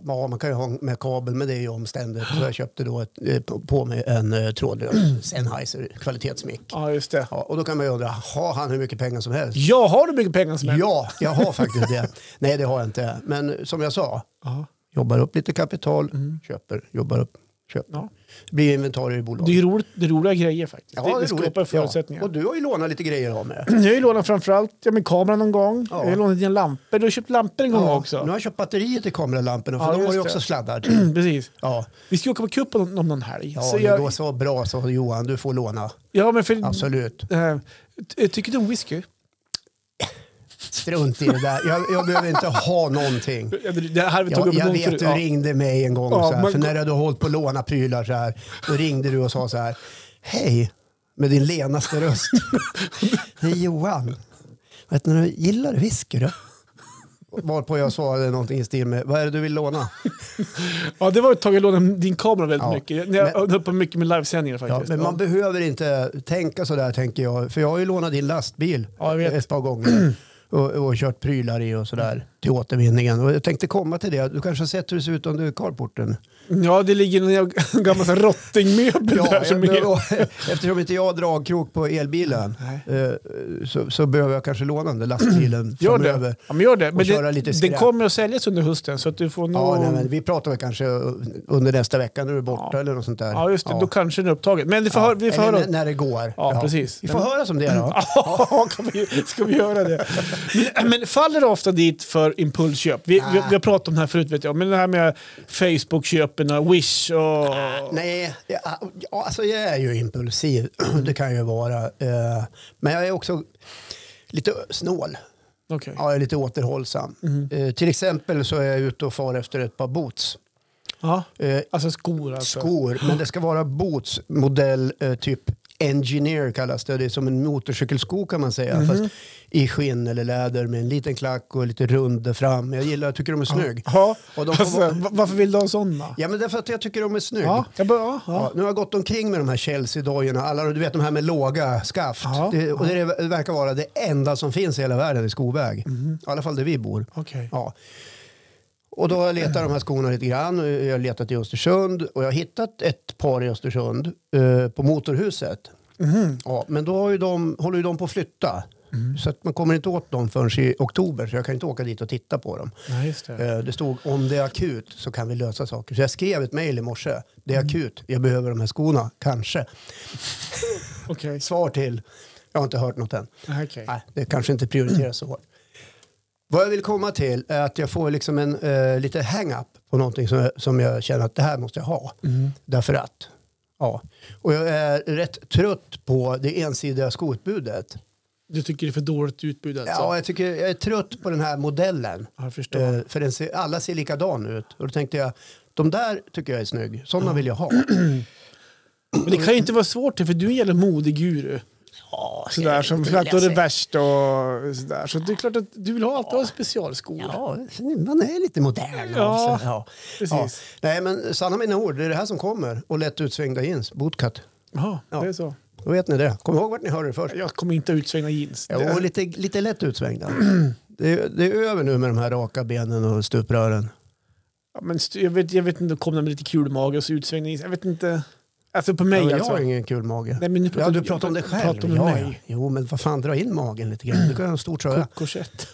[SPEAKER 1] ja man kan ju ha med kabel, men det är ju omständigt. Så jag köpte då ett, eh, på- på mig en eh, trådlös Sennheiser kvalitetsmick.
[SPEAKER 2] ja, just det.
[SPEAKER 1] Ja, och då kan man ju undra, har han hur mycket pengar som helst?
[SPEAKER 2] Ja, har du mycket pengar som helst?
[SPEAKER 1] Ja, jag har faktiskt det. Nej, det har jag inte. Men som jag sa,
[SPEAKER 2] Ja.
[SPEAKER 1] jobbar upp lite kapital, köper, jobbar upp, köper.
[SPEAKER 2] Mm. Ja.
[SPEAKER 1] Det blir inventarier i bolaget.
[SPEAKER 2] Det är ju roligt, det är roliga grejer faktiskt.
[SPEAKER 1] Ja,
[SPEAKER 2] det, det,
[SPEAKER 1] är roligt.
[SPEAKER 2] skapar förutsättningar.
[SPEAKER 1] Ja. Och du har ju lånat lite grejer av mig.
[SPEAKER 2] Jag har ju lånat framförallt ja, min kamera någon gång.
[SPEAKER 1] Ja.
[SPEAKER 2] Jag har lånat dina lampor. Du har köpt lampor en gång
[SPEAKER 1] Ja,
[SPEAKER 2] också.
[SPEAKER 1] Nu har jag köpt batterier till kameralamporna för
[SPEAKER 2] Ja,
[SPEAKER 1] de har
[SPEAKER 2] just
[SPEAKER 1] ju
[SPEAKER 2] det.
[SPEAKER 1] också sladdar till.
[SPEAKER 2] Precis.
[SPEAKER 1] Ja,
[SPEAKER 2] Vi ska ju åka på cupen om, om någon helg.
[SPEAKER 1] ja
[SPEAKER 2] så
[SPEAKER 1] det går Alltså-
[SPEAKER 2] jag, Mm.
[SPEAKER 1] så bra så Johan, du får låna.
[SPEAKER 2] ja, men för,
[SPEAKER 1] Absolut.
[SPEAKER 2] eh, ty- tycker du om whisky?
[SPEAKER 1] Strunt i det där. Jag, jag behöver inte ha någonting.
[SPEAKER 2] Det här vi tog
[SPEAKER 1] Jag,
[SPEAKER 2] upp
[SPEAKER 1] jag
[SPEAKER 2] någon
[SPEAKER 1] vet,
[SPEAKER 2] förut.
[SPEAKER 1] du
[SPEAKER 2] Ja.
[SPEAKER 1] ringde mig en gång
[SPEAKER 2] Ja,
[SPEAKER 1] så här,
[SPEAKER 2] men-
[SPEAKER 1] för när jag hade hållit på att låna prylar så här, då ringde du och sa så här, hej, med din lenaste röst. Hej Johan, vet ni, gillar du whisky då? Varpå jag svarade någonting i stil med, vad är det du vill låna?
[SPEAKER 2] ja, det var ett tag jag lånade din kamera väldigt
[SPEAKER 1] Ja.
[SPEAKER 2] mycket. När jag
[SPEAKER 1] Men-
[SPEAKER 2] höll på mycket med livesändningar
[SPEAKER 1] Ja,
[SPEAKER 2] faktiskt.
[SPEAKER 1] men man behöver inte tänka så där tänker jag, för jag har ju lånat din lastbil
[SPEAKER 2] Ja, jag vet.
[SPEAKER 1] ett par gånger. Och, och kört prylar i och sådär till återvinningen. Och jag tänkte komma till det. Du kanske har sett hur det ser ut under carporten?
[SPEAKER 2] ja det ligger en jävla- gammal sån här rottingmöbel där
[SPEAKER 1] Ja,
[SPEAKER 2] som
[SPEAKER 1] jag,
[SPEAKER 2] är...
[SPEAKER 1] behöver- eftersom inte jag har dragkrok på elbilen
[SPEAKER 2] Nej.
[SPEAKER 1] eh, så, så behöver jag kanske låna den där lastbilen
[SPEAKER 2] Gör
[SPEAKER 1] framöver.
[SPEAKER 2] det. Ja, men gör det. Men
[SPEAKER 1] köra
[SPEAKER 2] det,
[SPEAKER 1] lite
[SPEAKER 2] den
[SPEAKER 1] skräp.
[SPEAKER 2] kommer att säljas under hösten så att du får nog...
[SPEAKER 1] Ja, nej, men vi pratar väl kanske under nästa vecka när du är borta
[SPEAKER 2] Ja.
[SPEAKER 1] eller något sånt där.
[SPEAKER 2] Ja, just det. Då kanske den är upptagen. Men vi får, höra, vi får
[SPEAKER 1] Eller
[SPEAKER 2] höra.
[SPEAKER 1] när- när det går.
[SPEAKER 2] Ja, precis.
[SPEAKER 1] Vi får höra som det är då.
[SPEAKER 2] Ja, kan vi, ska vi göra det? Men, men faller det ofta dit för impulsköp? Vi, vi, vi har pratat om det här förut, vet jag. Men det här med Facebook-köpen och Wish och...
[SPEAKER 1] Nej, jag, ja, alltså jag är ju impulsiv. Det kan jag ju vara. Eh, Men jag är också lite snål.
[SPEAKER 2] Okej.
[SPEAKER 1] Ja, jag är lite återhållsam.
[SPEAKER 2] Mm.
[SPEAKER 1] Eh, Till exempel så är jag ute och far efter ett par boots.
[SPEAKER 2] Ja.
[SPEAKER 1] Eh,
[SPEAKER 2] Alltså skor alltså.
[SPEAKER 1] skor, men det ska vara boots modell eh, typ engineer kallas det. Det är som en motorcykelsko kan man säga.
[SPEAKER 2] Mhm.
[SPEAKER 1] Fast i skinn eller läder med en liten klack och lite rund där fram. Jag gillar, jag tycker de är snygg.
[SPEAKER 2] Ja.
[SPEAKER 1] Och de får
[SPEAKER 2] alltså,
[SPEAKER 1] vara-
[SPEAKER 2] va- varför vill du ha sådana?
[SPEAKER 1] Ja men därför att jag tycker de är snygg.
[SPEAKER 2] Ja. Jag bara, ja, ja.
[SPEAKER 1] Ja, nu har jag gått omkring med de här Chelsea-dojorna, alla du vet de här med låga skaft.
[SPEAKER 2] Ja,
[SPEAKER 1] det, och det är- verkar vara det enda som finns i hela världen i skoväg.
[SPEAKER 2] Mhm.
[SPEAKER 1] I alla fall där vi bor.
[SPEAKER 2] Okej.
[SPEAKER 1] Ja. Och då har jag letat de här skorna lite grann. Jag har letat i Östersund och jag har hittat ett par i Östersund eh, på Motorhuset. Ja, men då har ju de, håller ju de på att flytta. Så att man kommer inte åt dem förrän i oktober så jag kan inte åka dit och titta på dem.
[SPEAKER 2] Nej, just det.
[SPEAKER 1] Eh, Det stod om det är akut så kan vi lösa saker. Så jag skrev ett mejl i morse. Det är akut, jag behöver de här skorna, kanske.
[SPEAKER 2] Okej.
[SPEAKER 1] Svar till, jag har inte hört något än.
[SPEAKER 2] Nej, okej.
[SPEAKER 1] Nej, det kanske inte prioriteras så hårt. Vad jag vill komma till är att jag får liksom en eh, lite hang-up på någonting som jag, som jag känner att det här måste jag ha.
[SPEAKER 2] Mm.
[SPEAKER 1] Därför att. Ja. Och jag är rätt trött på det ensidiga skoutbudet.
[SPEAKER 2] Du tycker det är för dåligt utbud alltså?
[SPEAKER 1] Ja, jag, tycker, jag är trött på den här modellen.
[SPEAKER 2] Ja, jag förstår.
[SPEAKER 1] Eh, för den ser, alla ser likadan ut. Och då tänkte jag, de där tycker jag är snygg.
[SPEAKER 2] Mm.
[SPEAKER 1] Sådana vill jag ha.
[SPEAKER 2] Men det kan ju inte vara svårt, för du är en jävla modeguru.
[SPEAKER 1] Ja,
[SPEAKER 2] Sådär som
[SPEAKER 1] skulle jag
[SPEAKER 2] att då är det
[SPEAKER 1] säga.
[SPEAKER 2] värst och sådär. Så det är klart att du vill ha alltid ha specialskor.
[SPEAKER 1] Ja, man är lite modern.
[SPEAKER 2] Ja,
[SPEAKER 1] av sig. ja.
[SPEAKER 2] precis.
[SPEAKER 1] Ja. Nej, men sanna mina ord, det är det här som kommer. Och lätt utsvängda jeans, bootcut.
[SPEAKER 2] Jaha,
[SPEAKER 1] Ja.
[SPEAKER 2] det är så.
[SPEAKER 1] Då vet ni det. Kom ihåg vart ni hörde det först.
[SPEAKER 2] Jag kommer inte ha utsvängda jeans.
[SPEAKER 1] Ja, och lite, lite lätt utsvängda. Det, det är över nu med de här raka benen och stuprören.
[SPEAKER 2] Ja, men st- jag, vet, jag vet inte, kom den med lite kul mage och så utsvängda jeans. Jag vet inte. Alltså på mig
[SPEAKER 1] Ja, men jag
[SPEAKER 2] alltså.
[SPEAKER 1] har ingen kul mage.
[SPEAKER 2] Nej, men nu
[SPEAKER 1] ja,
[SPEAKER 2] pratar-
[SPEAKER 1] du pratar om dig själv.
[SPEAKER 2] pratar om
[SPEAKER 1] ja,
[SPEAKER 2] mig.
[SPEAKER 1] ja. Jo, men vad fan, dra in magen lite grann. Du kan ha en stor tröja.
[SPEAKER 2] Korsett.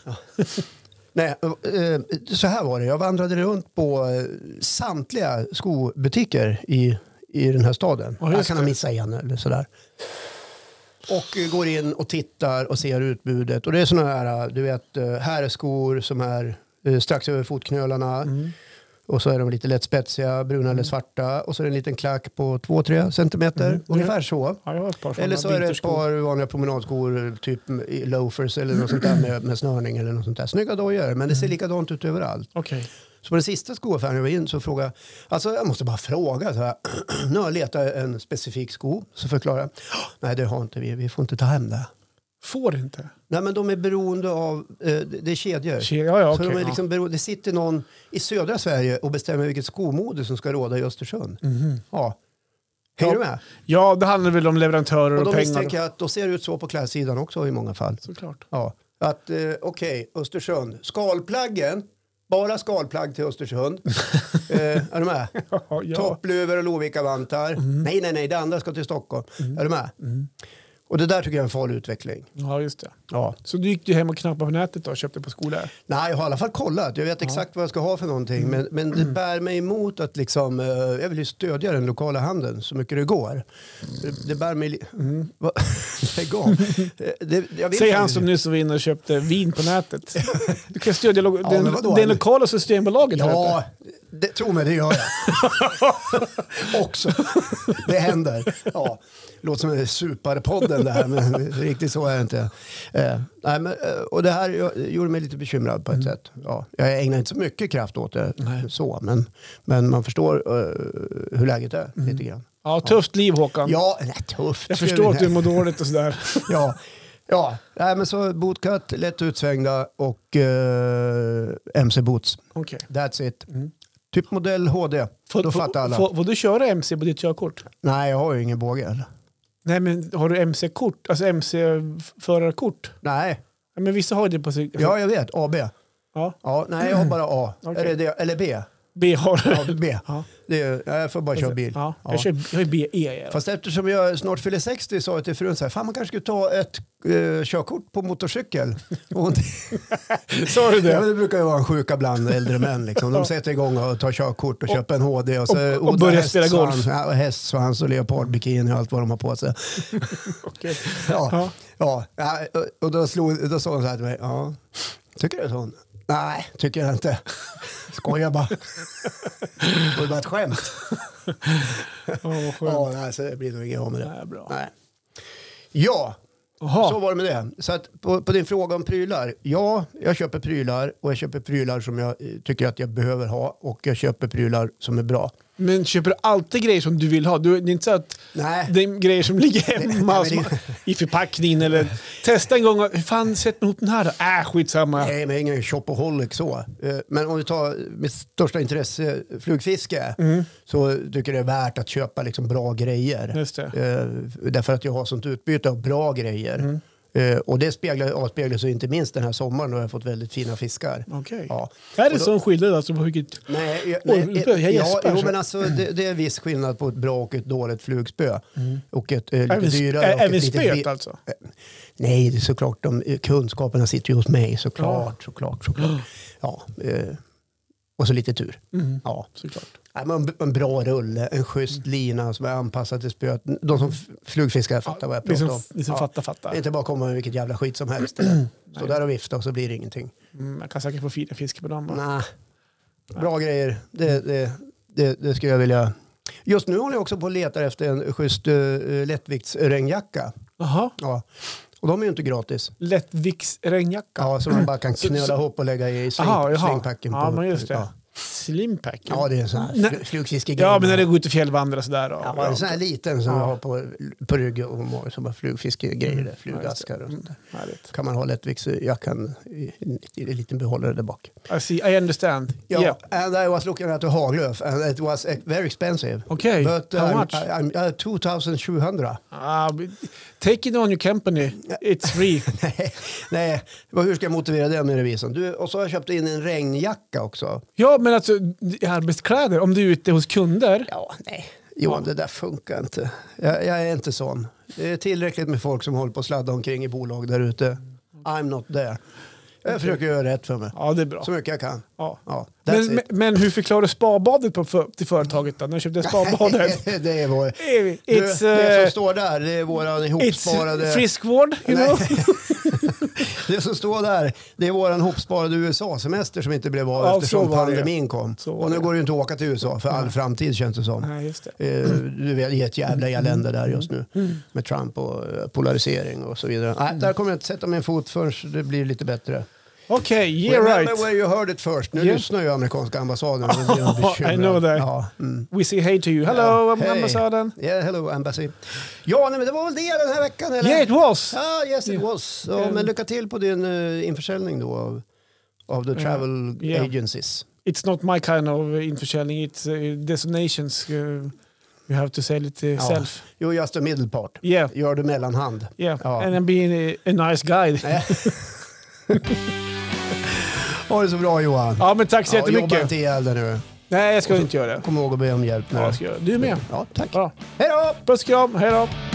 [SPEAKER 1] Nej, eh, så här var det. Jag vandrade runt på eh, samtliga skobutiker i, i den här staden.
[SPEAKER 2] Ja, just
[SPEAKER 1] här kan han
[SPEAKER 2] det.
[SPEAKER 1] missa en eller sådär. Och eh, går in och tittar och ser utbudet. Och det är sådana här, eh, du vet, eh, herrskor som är eh, strax över fotknölarna.
[SPEAKER 2] Mm.
[SPEAKER 1] Och så är de lite lätt spetsiga, bruna eller svarta. Och så är det en liten klack på 2-3 centimeter.
[SPEAKER 2] Mm.
[SPEAKER 1] Ungefär så.
[SPEAKER 2] Ja, jag har ett par sådana
[SPEAKER 1] Eller så är det ett
[SPEAKER 2] vinterskor.
[SPEAKER 1] par vanliga promenadskor, typ loafers eller något sånt där med, med snörning eller något sånt där. Snygga dojor, men
[SPEAKER 2] Mm.
[SPEAKER 1] det ser likadant ut överallt.
[SPEAKER 2] Okej.
[SPEAKER 1] Så på den sista skoaffären jag var in så frågade jag, alltså jag måste bara fråga så här. Nu har jag letat en specifik sko, så förklarar jag. Nej, det har inte vi, vi får inte ta hem det.
[SPEAKER 2] Får inte?
[SPEAKER 1] Nej, men de är beroende av, eh, det- det är kedjor.
[SPEAKER 2] Ke- ja, ja,
[SPEAKER 1] så
[SPEAKER 2] okej,
[SPEAKER 1] de är
[SPEAKER 2] ja.
[SPEAKER 1] liksom beroende, det sitter någon i södra Sverige och bestämmer vilket skomode som ska råda i Östersund. Ja. Hänger
[SPEAKER 2] Mhm. Ja.
[SPEAKER 1] du med?
[SPEAKER 2] Ja, det handlar väl om leverantörer
[SPEAKER 1] Och
[SPEAKER 2] och,
[SPEAKER 1] då
[SPEAKER 2] pengar.
[SPEAKER 1] misstänker jag att då ser det ut så på klädsidan också i många fall.
[SPEAKER 2] Såklart.
[SPEAKER 1] Ja, att eh, okej, Östersund. Skalplaggen, bara skalplagg till Östersund. eh, är du med?
[SPEAKER 2] Ja, Mm. ja.
[SPEAKER 1] Toppluvor och Lovikkavantar. Nej, nej, nej, det andra ska till Stockholm.
[SPEAKER 2] Mm.
[SPEAKER 1] Är du med? Och det där tycker jag är en farlig utveckling.
[SPEAKER 2] ja, just det.
[SPEAKER 1] Ja.
[SPEAKER 2] Så du gick du hem och knappade på nätet då och köpte på skola?
[SPEAKER 1] Nej, jag har i alla fall kollat. Jag vet exakt vad jag ska ha för någonting.
[SPEAKER 2] Mm.
[SPEAKER 1] Men, men det bär mig emot att liksom, eh, jag vill ju stödja den lokala handeln så mycket det går. Det, det bär mig... li- Va? Lägg av. Eh, det, jag vet
[SPEAKER 2] Mm. Säg
[SPEAKER 1] inte.
[SPEAKER 2] han som nyss var inne och köpte vin på nätet. Du kan stödja lo-
[SPEAKER 1] Ja, men vadå?
[SPEAKER 2] den, den lokala systembolaget. här
[SPEAKER 1] Ja,
[SPEAKER 2] uppe.
[SPEAKER 1] det, tro mig, det gör jag. Också. Det händer. Ja. Låter som en suparepodden det här, men riktigt så är det inte. Eh, nej, men, eh, och det här gör- gjorde mig lite bekymrad på ett
[SPEAKER 2] Mm.
[SPEAKER 1] sätt. Ja, jag ägnar inte så mycket kraft åt det, så, men, men man förstår eh, hur läget är lite grann.
[SPEAKER 2] Mm. ja, tufft liv Håkan.
[SPEAKER 1] Ja, nej, tufft.
[SPEAKER 2] Jag förstår att du mår dåligt och sådär.
[SPEAKER 1] Ja, ja. Nej, men så bootcut, lätt utsvängda och eh, MC Boots.
[SPEAKER 2] Okej.
[SPEAKER 1] That's it. Typ modell HD.
[SPEAKER 2] Får-
[SPEAKER 1] Då
[SPEAKER 2] får-
[SPEAKER 1] fattar alla.
[SPEAKER 2] Får, får du köra MC på ditt körkort?
[SPEAKER 1] Nej, jag har ju ingen båge. heller.
[SPEAKER 2] Nej, men har du MC-kort? Alltså MC-förarkort?
[SPEAKER 1] Nej,
[SPEAKER 2] Ja, men vissa har det på sig.
[SPEAKER 1] ja jag vet. AB.
[SPEAKER 2] Ja.
[SPEAKER 1] Ja, nej, jag har bara A.
[SPEAKER 2] Okej.
[SPEAKER 1] Eller, det, eller B.
[SPEAKER 2] B har du.
[SPEAKER 1] Ja, B.
[SPEAKER 2] Ja.
[SPEAKER 1] Det är, ja, jag får bara köra bil.
[SPEAKER 2] Ja,
[SPEAKER 1] Ja.
[SPEAKER 2] jag kör E jag är BE.
[SPEAKER 1] Fast eftersom jag snart fyller 60 sa jag till frun så här, fan man kanske skulle ta ett eh, körkort på motorcykel. Och hon-
[SPEAKER 2] Sa du
[SPEAKER 1] Ja, men
[SPEAKER 2] det?
[SPEAKER 1] det brukar ju vara en sjuka bland äldre män. Liksom. De sätter igång och tar körkort och, köper en HD och, så
[SPEAKER 2] och börjar spela golf.
[SPEAKER 1] hästsvans- ja, och hästsvans och leopardbikini och allt vad de har på sig.
[SPEAKER 2] Okej.
[SPEAKER 1] Ja,
[SPEAKER 2] Ja.
[SPEAKER 1] ja. ja. Och då, slog, då sa hon så här till mig. Ja. Tycker du sån? Nej, tycker jag inte. Skojar bara. Det var bara ett skämt.
[SPEAKER 2] Ja, vad skönt.
[SPEAKER 1] Ja, nej, så det blir nog inget av med det.
[SPEAKER 2] Nej, bra.
[SPEAKER 1] Nej. Ja,
[SPEAKER 2] Jaha.
[SPEAKER 1] så var det med det. Så att på, på din fråga om prylar. Ja, jag köper prylar och jag köper prylar som jag eh, tycker att jag behöver ha och jag köper prylar som är bra.
[SPEAKER 2] Men köper du alltid grejer som du vill ha? Du, det är inte så att
[SPEAKER 1] Nej.
[SPEAKER 2] det är grejer som ligger hemma
[SPEAKER 1] Nej, men det-
[SPEAKER 2] som, i förpackningen eller testa en gång. och, Hur fan sätter man ihop den här då? Äh, skitsamma.
[SPEAKER 1] Nej, men jag är ingen shopaholic så. Eh, Men om du tar mitt största intresse, flugfiske,
[SPEAKER 2] Mm.
[SPEAKER 1] så tycker jag det är värt att köpa liksom bra grejer.
[SPEAKER 2] Just
[SPEAKER 1] Eh, Därför att jag har sånt utbyte av bra grejer.
[SPEAKER 2] Mm.
[SPEAKER 1] Eh, Och det speglar, avspeglar sig inte minst den här sommaren då jag har fått väldigt fina fiskar.
[SPEAKER 2] Okej.
[SPEAKER 1] Ja.
[SPEAKER 2] Är det sån skillnad alltså? På vilket...
[SPEAKER 1] Nej, jag,
[SPEAKER 2] Oj,
[SPEAKER 1] nej,
[SPEAKER 2] jag
[SPEAKER 1] ja,
[SPEAKER 2] gäspar
[SPEAKER 1] jo,
[SPEAKER 2] så.
[SPEAKER 1] men alltså, det, det är viss skillnad på ett bra och ett dåligt flugspö.
[SPEAKER 2] Mm.
[SPEAKER 1] Och ett eh, lite
[SPEAKER 2] Även,
[SPEAKER 1] dyrare.
[SPEAKER 2] ä-
[SPEAKER 1] och ett
[SPEAKER 2] även
[SPEAKER 1] lite bi-
[SPEAKER 2] spöet alltså?
[SPEAKER 1] Nej, det är såklart. De, eh, kunskaperna sitter ju hos mig såklart. såklart, såklart. Ja, eh, och så lite tur.
[SPEAKER 2] Mm.
[SPEAKER 1] Ja.
[SPEAKER 2] Såklart.
[SPEAKER 1] Nej, men en, en bra rulle, en schysst lina som är anpassad till spöet. De som f- flugfiskar fattar vad jag
[SPEAKER 2] Ni
[SPEAKER 1] pratar
[SPEAKER 2] som,
[SPEAKER 1] om.
[SPEAKER 2] ni som fattar fattar.
[SPEAKER 1] Inte bara komma med vilket jävla skit som helst. Så där och vifta och så blir det ingenting.
[SPEAKER 2] Mm, jag kan säkert få fina fiskar på dem. va?
[SPEAKER 1] typ- Nej. Bra grejer. Det, det, det, det skulle jag vilja. Just nu håller jag också på och letar efter en schysst uh, lättviktsregnjacka.
[SPEAKER 2] Jaha.
[SPEAKER 1] Ja. Och de är ju inte gratis.
[SPEAKER 2] Lättviktsregnjacka?
[SPEAKER 1] Ja, som man bara kan
[SPEAKER 2] Så-
[SPEAKER 1] knöla
[SPEAKER 2] så-
[SPEAKER 1] ihop och lägga i sling,
[SPEAKER 2] Jaha, jaha.
[SPEAKER 1] slingpacken.
[SPEAKER 2] Ja,
[SPEAKER 1] på,
[SPEAKER 2] men just det.
[SPEAKER 1] Ja.
[SPEAKER 2] Slimpacken?
[SPEAKER 1] ja, det är en sån här
[SPEAKER 2] Nej.
[SPEAKER 1] fl- flugfiskegrej.
[SPEAKER 2] Ja, men när det går ut och fjällvandrar sådär. Då.
[SPEAKER 1] Ja, det är en sån här liten som
[SPEAKER 2] Ja. Mm.
[SPEAKER 1] jag har på, på ryggen och mår, som har flugfiskegrejer, där, flugaskar och sånt där.
[SPEAKER 2] Härligt.
[SPEAKER 1] Kan man ha lättviktsjackan i, i, i en liten behållare där bak.
[SPEAKER 2] I, see, I understand.
[SPEAKER 1] Ja,
[SPEAKER 2] Yeah.
[SPEAKER 1] and I was looking at the Haglöf and it was eh, very expensive.
[SPEAKER 2] Okej,
[SPEAKER 1] But
[SPEAKER 2] how
[SPEAKER 1] I'm,
[SPEAKER 2] much?
[SPEAKER 1] I, I'm uh, 2200.
[SPEAKER 2] Ah, but take it on your company. It's free.
[SPEAKER 1] Nej, Nej, vad- hur ska jag motivera det med revisorn? Du, och så har jag köpt in en regnjacka också.
[SPEAKER 2] ja, men alltså d- arbetskläder, om du är ute hos kunder.
[SPEAKER 1] Ja, nej. Johan, det där funkar inte. Jag, jag är inte sån. Det är tillräckligt med folk som håller på att sladda omkring i bolag där ute. I'm not there. Jag försöker göra rätt för mig.
[SPEAKER 2] Ja, det är bra.
[SPEAKER 1] Så mycket jag kan.
[SPEAKER 2] Ja.
[SPEAKER 1] Ja, that's
[SPEAKER 2] Men, men,
[SPEAKER 1] it.
[SPEAKER 2] men hur förklarar du spabadet på för, till företaget då? När du köpte spabadet?
[SPEAKER 1] det är vår...
[SPEAKER 2] It's,
[SPEAKER 1] Du, det
[SPEAKER 2] eh,
[SPEAKER 1] som står där, det är våran
[SPEAKER 2] it's
[SPEAKER 1] ihopsparade...
[SPEAKER 2] friskvård, you
[SPEAKER 1] Nej.
[SPEAKER 2] know?
[SPEAKER 1] Det som står där, det är våran hopsparade USA-semester som inte blev av
[SPEAKER 2] Ja, så
[SPEAKER 1] eftersom
[SPEAKER 2] var det.
[SPEAKER 1] pandemin kom.
[SPEAKER 2] Så var
[SPEAKER 1] Och nu
[SPEAKER 2] det.
[SPEAKER 1] går det ju inte att åka till USA för all framtid känns det som.
[SPEAKER 2] Nej, just det.
[SPEAKER 1] Eh, Du vet, det är ett jävla elände där just nu
[SPEAKER 2] Mm.
[SPEAKER 1] med Trump och eh, polarisering och så vidare. Nej, där kommer jag inte sätta min fot förrän det blir lite bättre.
[SPEAKER 2] Okej, yeah
[SPEAKER 1] Remember
[SPEAKER 2] right.
[SPEAKER 1] where you heard it first. Nu
[SPEAKER 2] Yeah.
[SPEAKER 1] lyssnar ju amerikanska ambassaden. och blir de bekymrade.
[SPEAKER 2] I know that.
[SPEAKER 1] Ja, mm.
[SPEAKER 2] We say hey to you. Hello, I'm
[SPEAKER 1] Hey.
[SPEAKER 2] ambassaden.
[SPEAKER 1] Yeah, hello embassy. Ja, nej, men det var väl det den här veckan eller?
[SPEAKER 2] Yeah it was!
[SPEAKER 1] Ja, yes it was. Ja,
[SPEAKER 2] Um,
[SPEAKER 1] men lycka till på din uh, införsäljning då av, av the travel
[SPEAKER 2] yeah.
[SPEAKER 1] agencies.
[SPEAKER 2] It's not my kind of införsäljning, it's uh, destinations. Uh, you have to sell it
[SPEAKER 1] Ja.
[SPEAKER 2] yourself.
[SPEAKER 1] Jo, just det, medelpart.
[SPEAKER 2] Yeah,
[SPEAKER 1] Gör du mellanhand.
[SPEAKER 2] yeah.
[SPEAKER 1] Ja.
[SPEAKER 2] And I'm being a, a nice guy.
[SPEAKER 1] Ha det så bra Johan.
[SPEAKER 2] Ja, men tack så
[SPEAKER 1] Ja, jobba
[SPEAKER 2] jättemycket.
[SPEAKER 1] inte ihjäl dig nu.
[SPEAKER 2] Nej, jag ska inte göra det.
[SPEAKER 1] Kom ihåg att be om hjälp nu.
[SPEAKER 2] Ja, jag ska göra det. Du är med.
[SPEAKER 1] Ja, tack.
[SPEAKER 2] Bra.
[SPEAKER 1] Hej då!
[SPEAKER 2] Puss kram, hej då.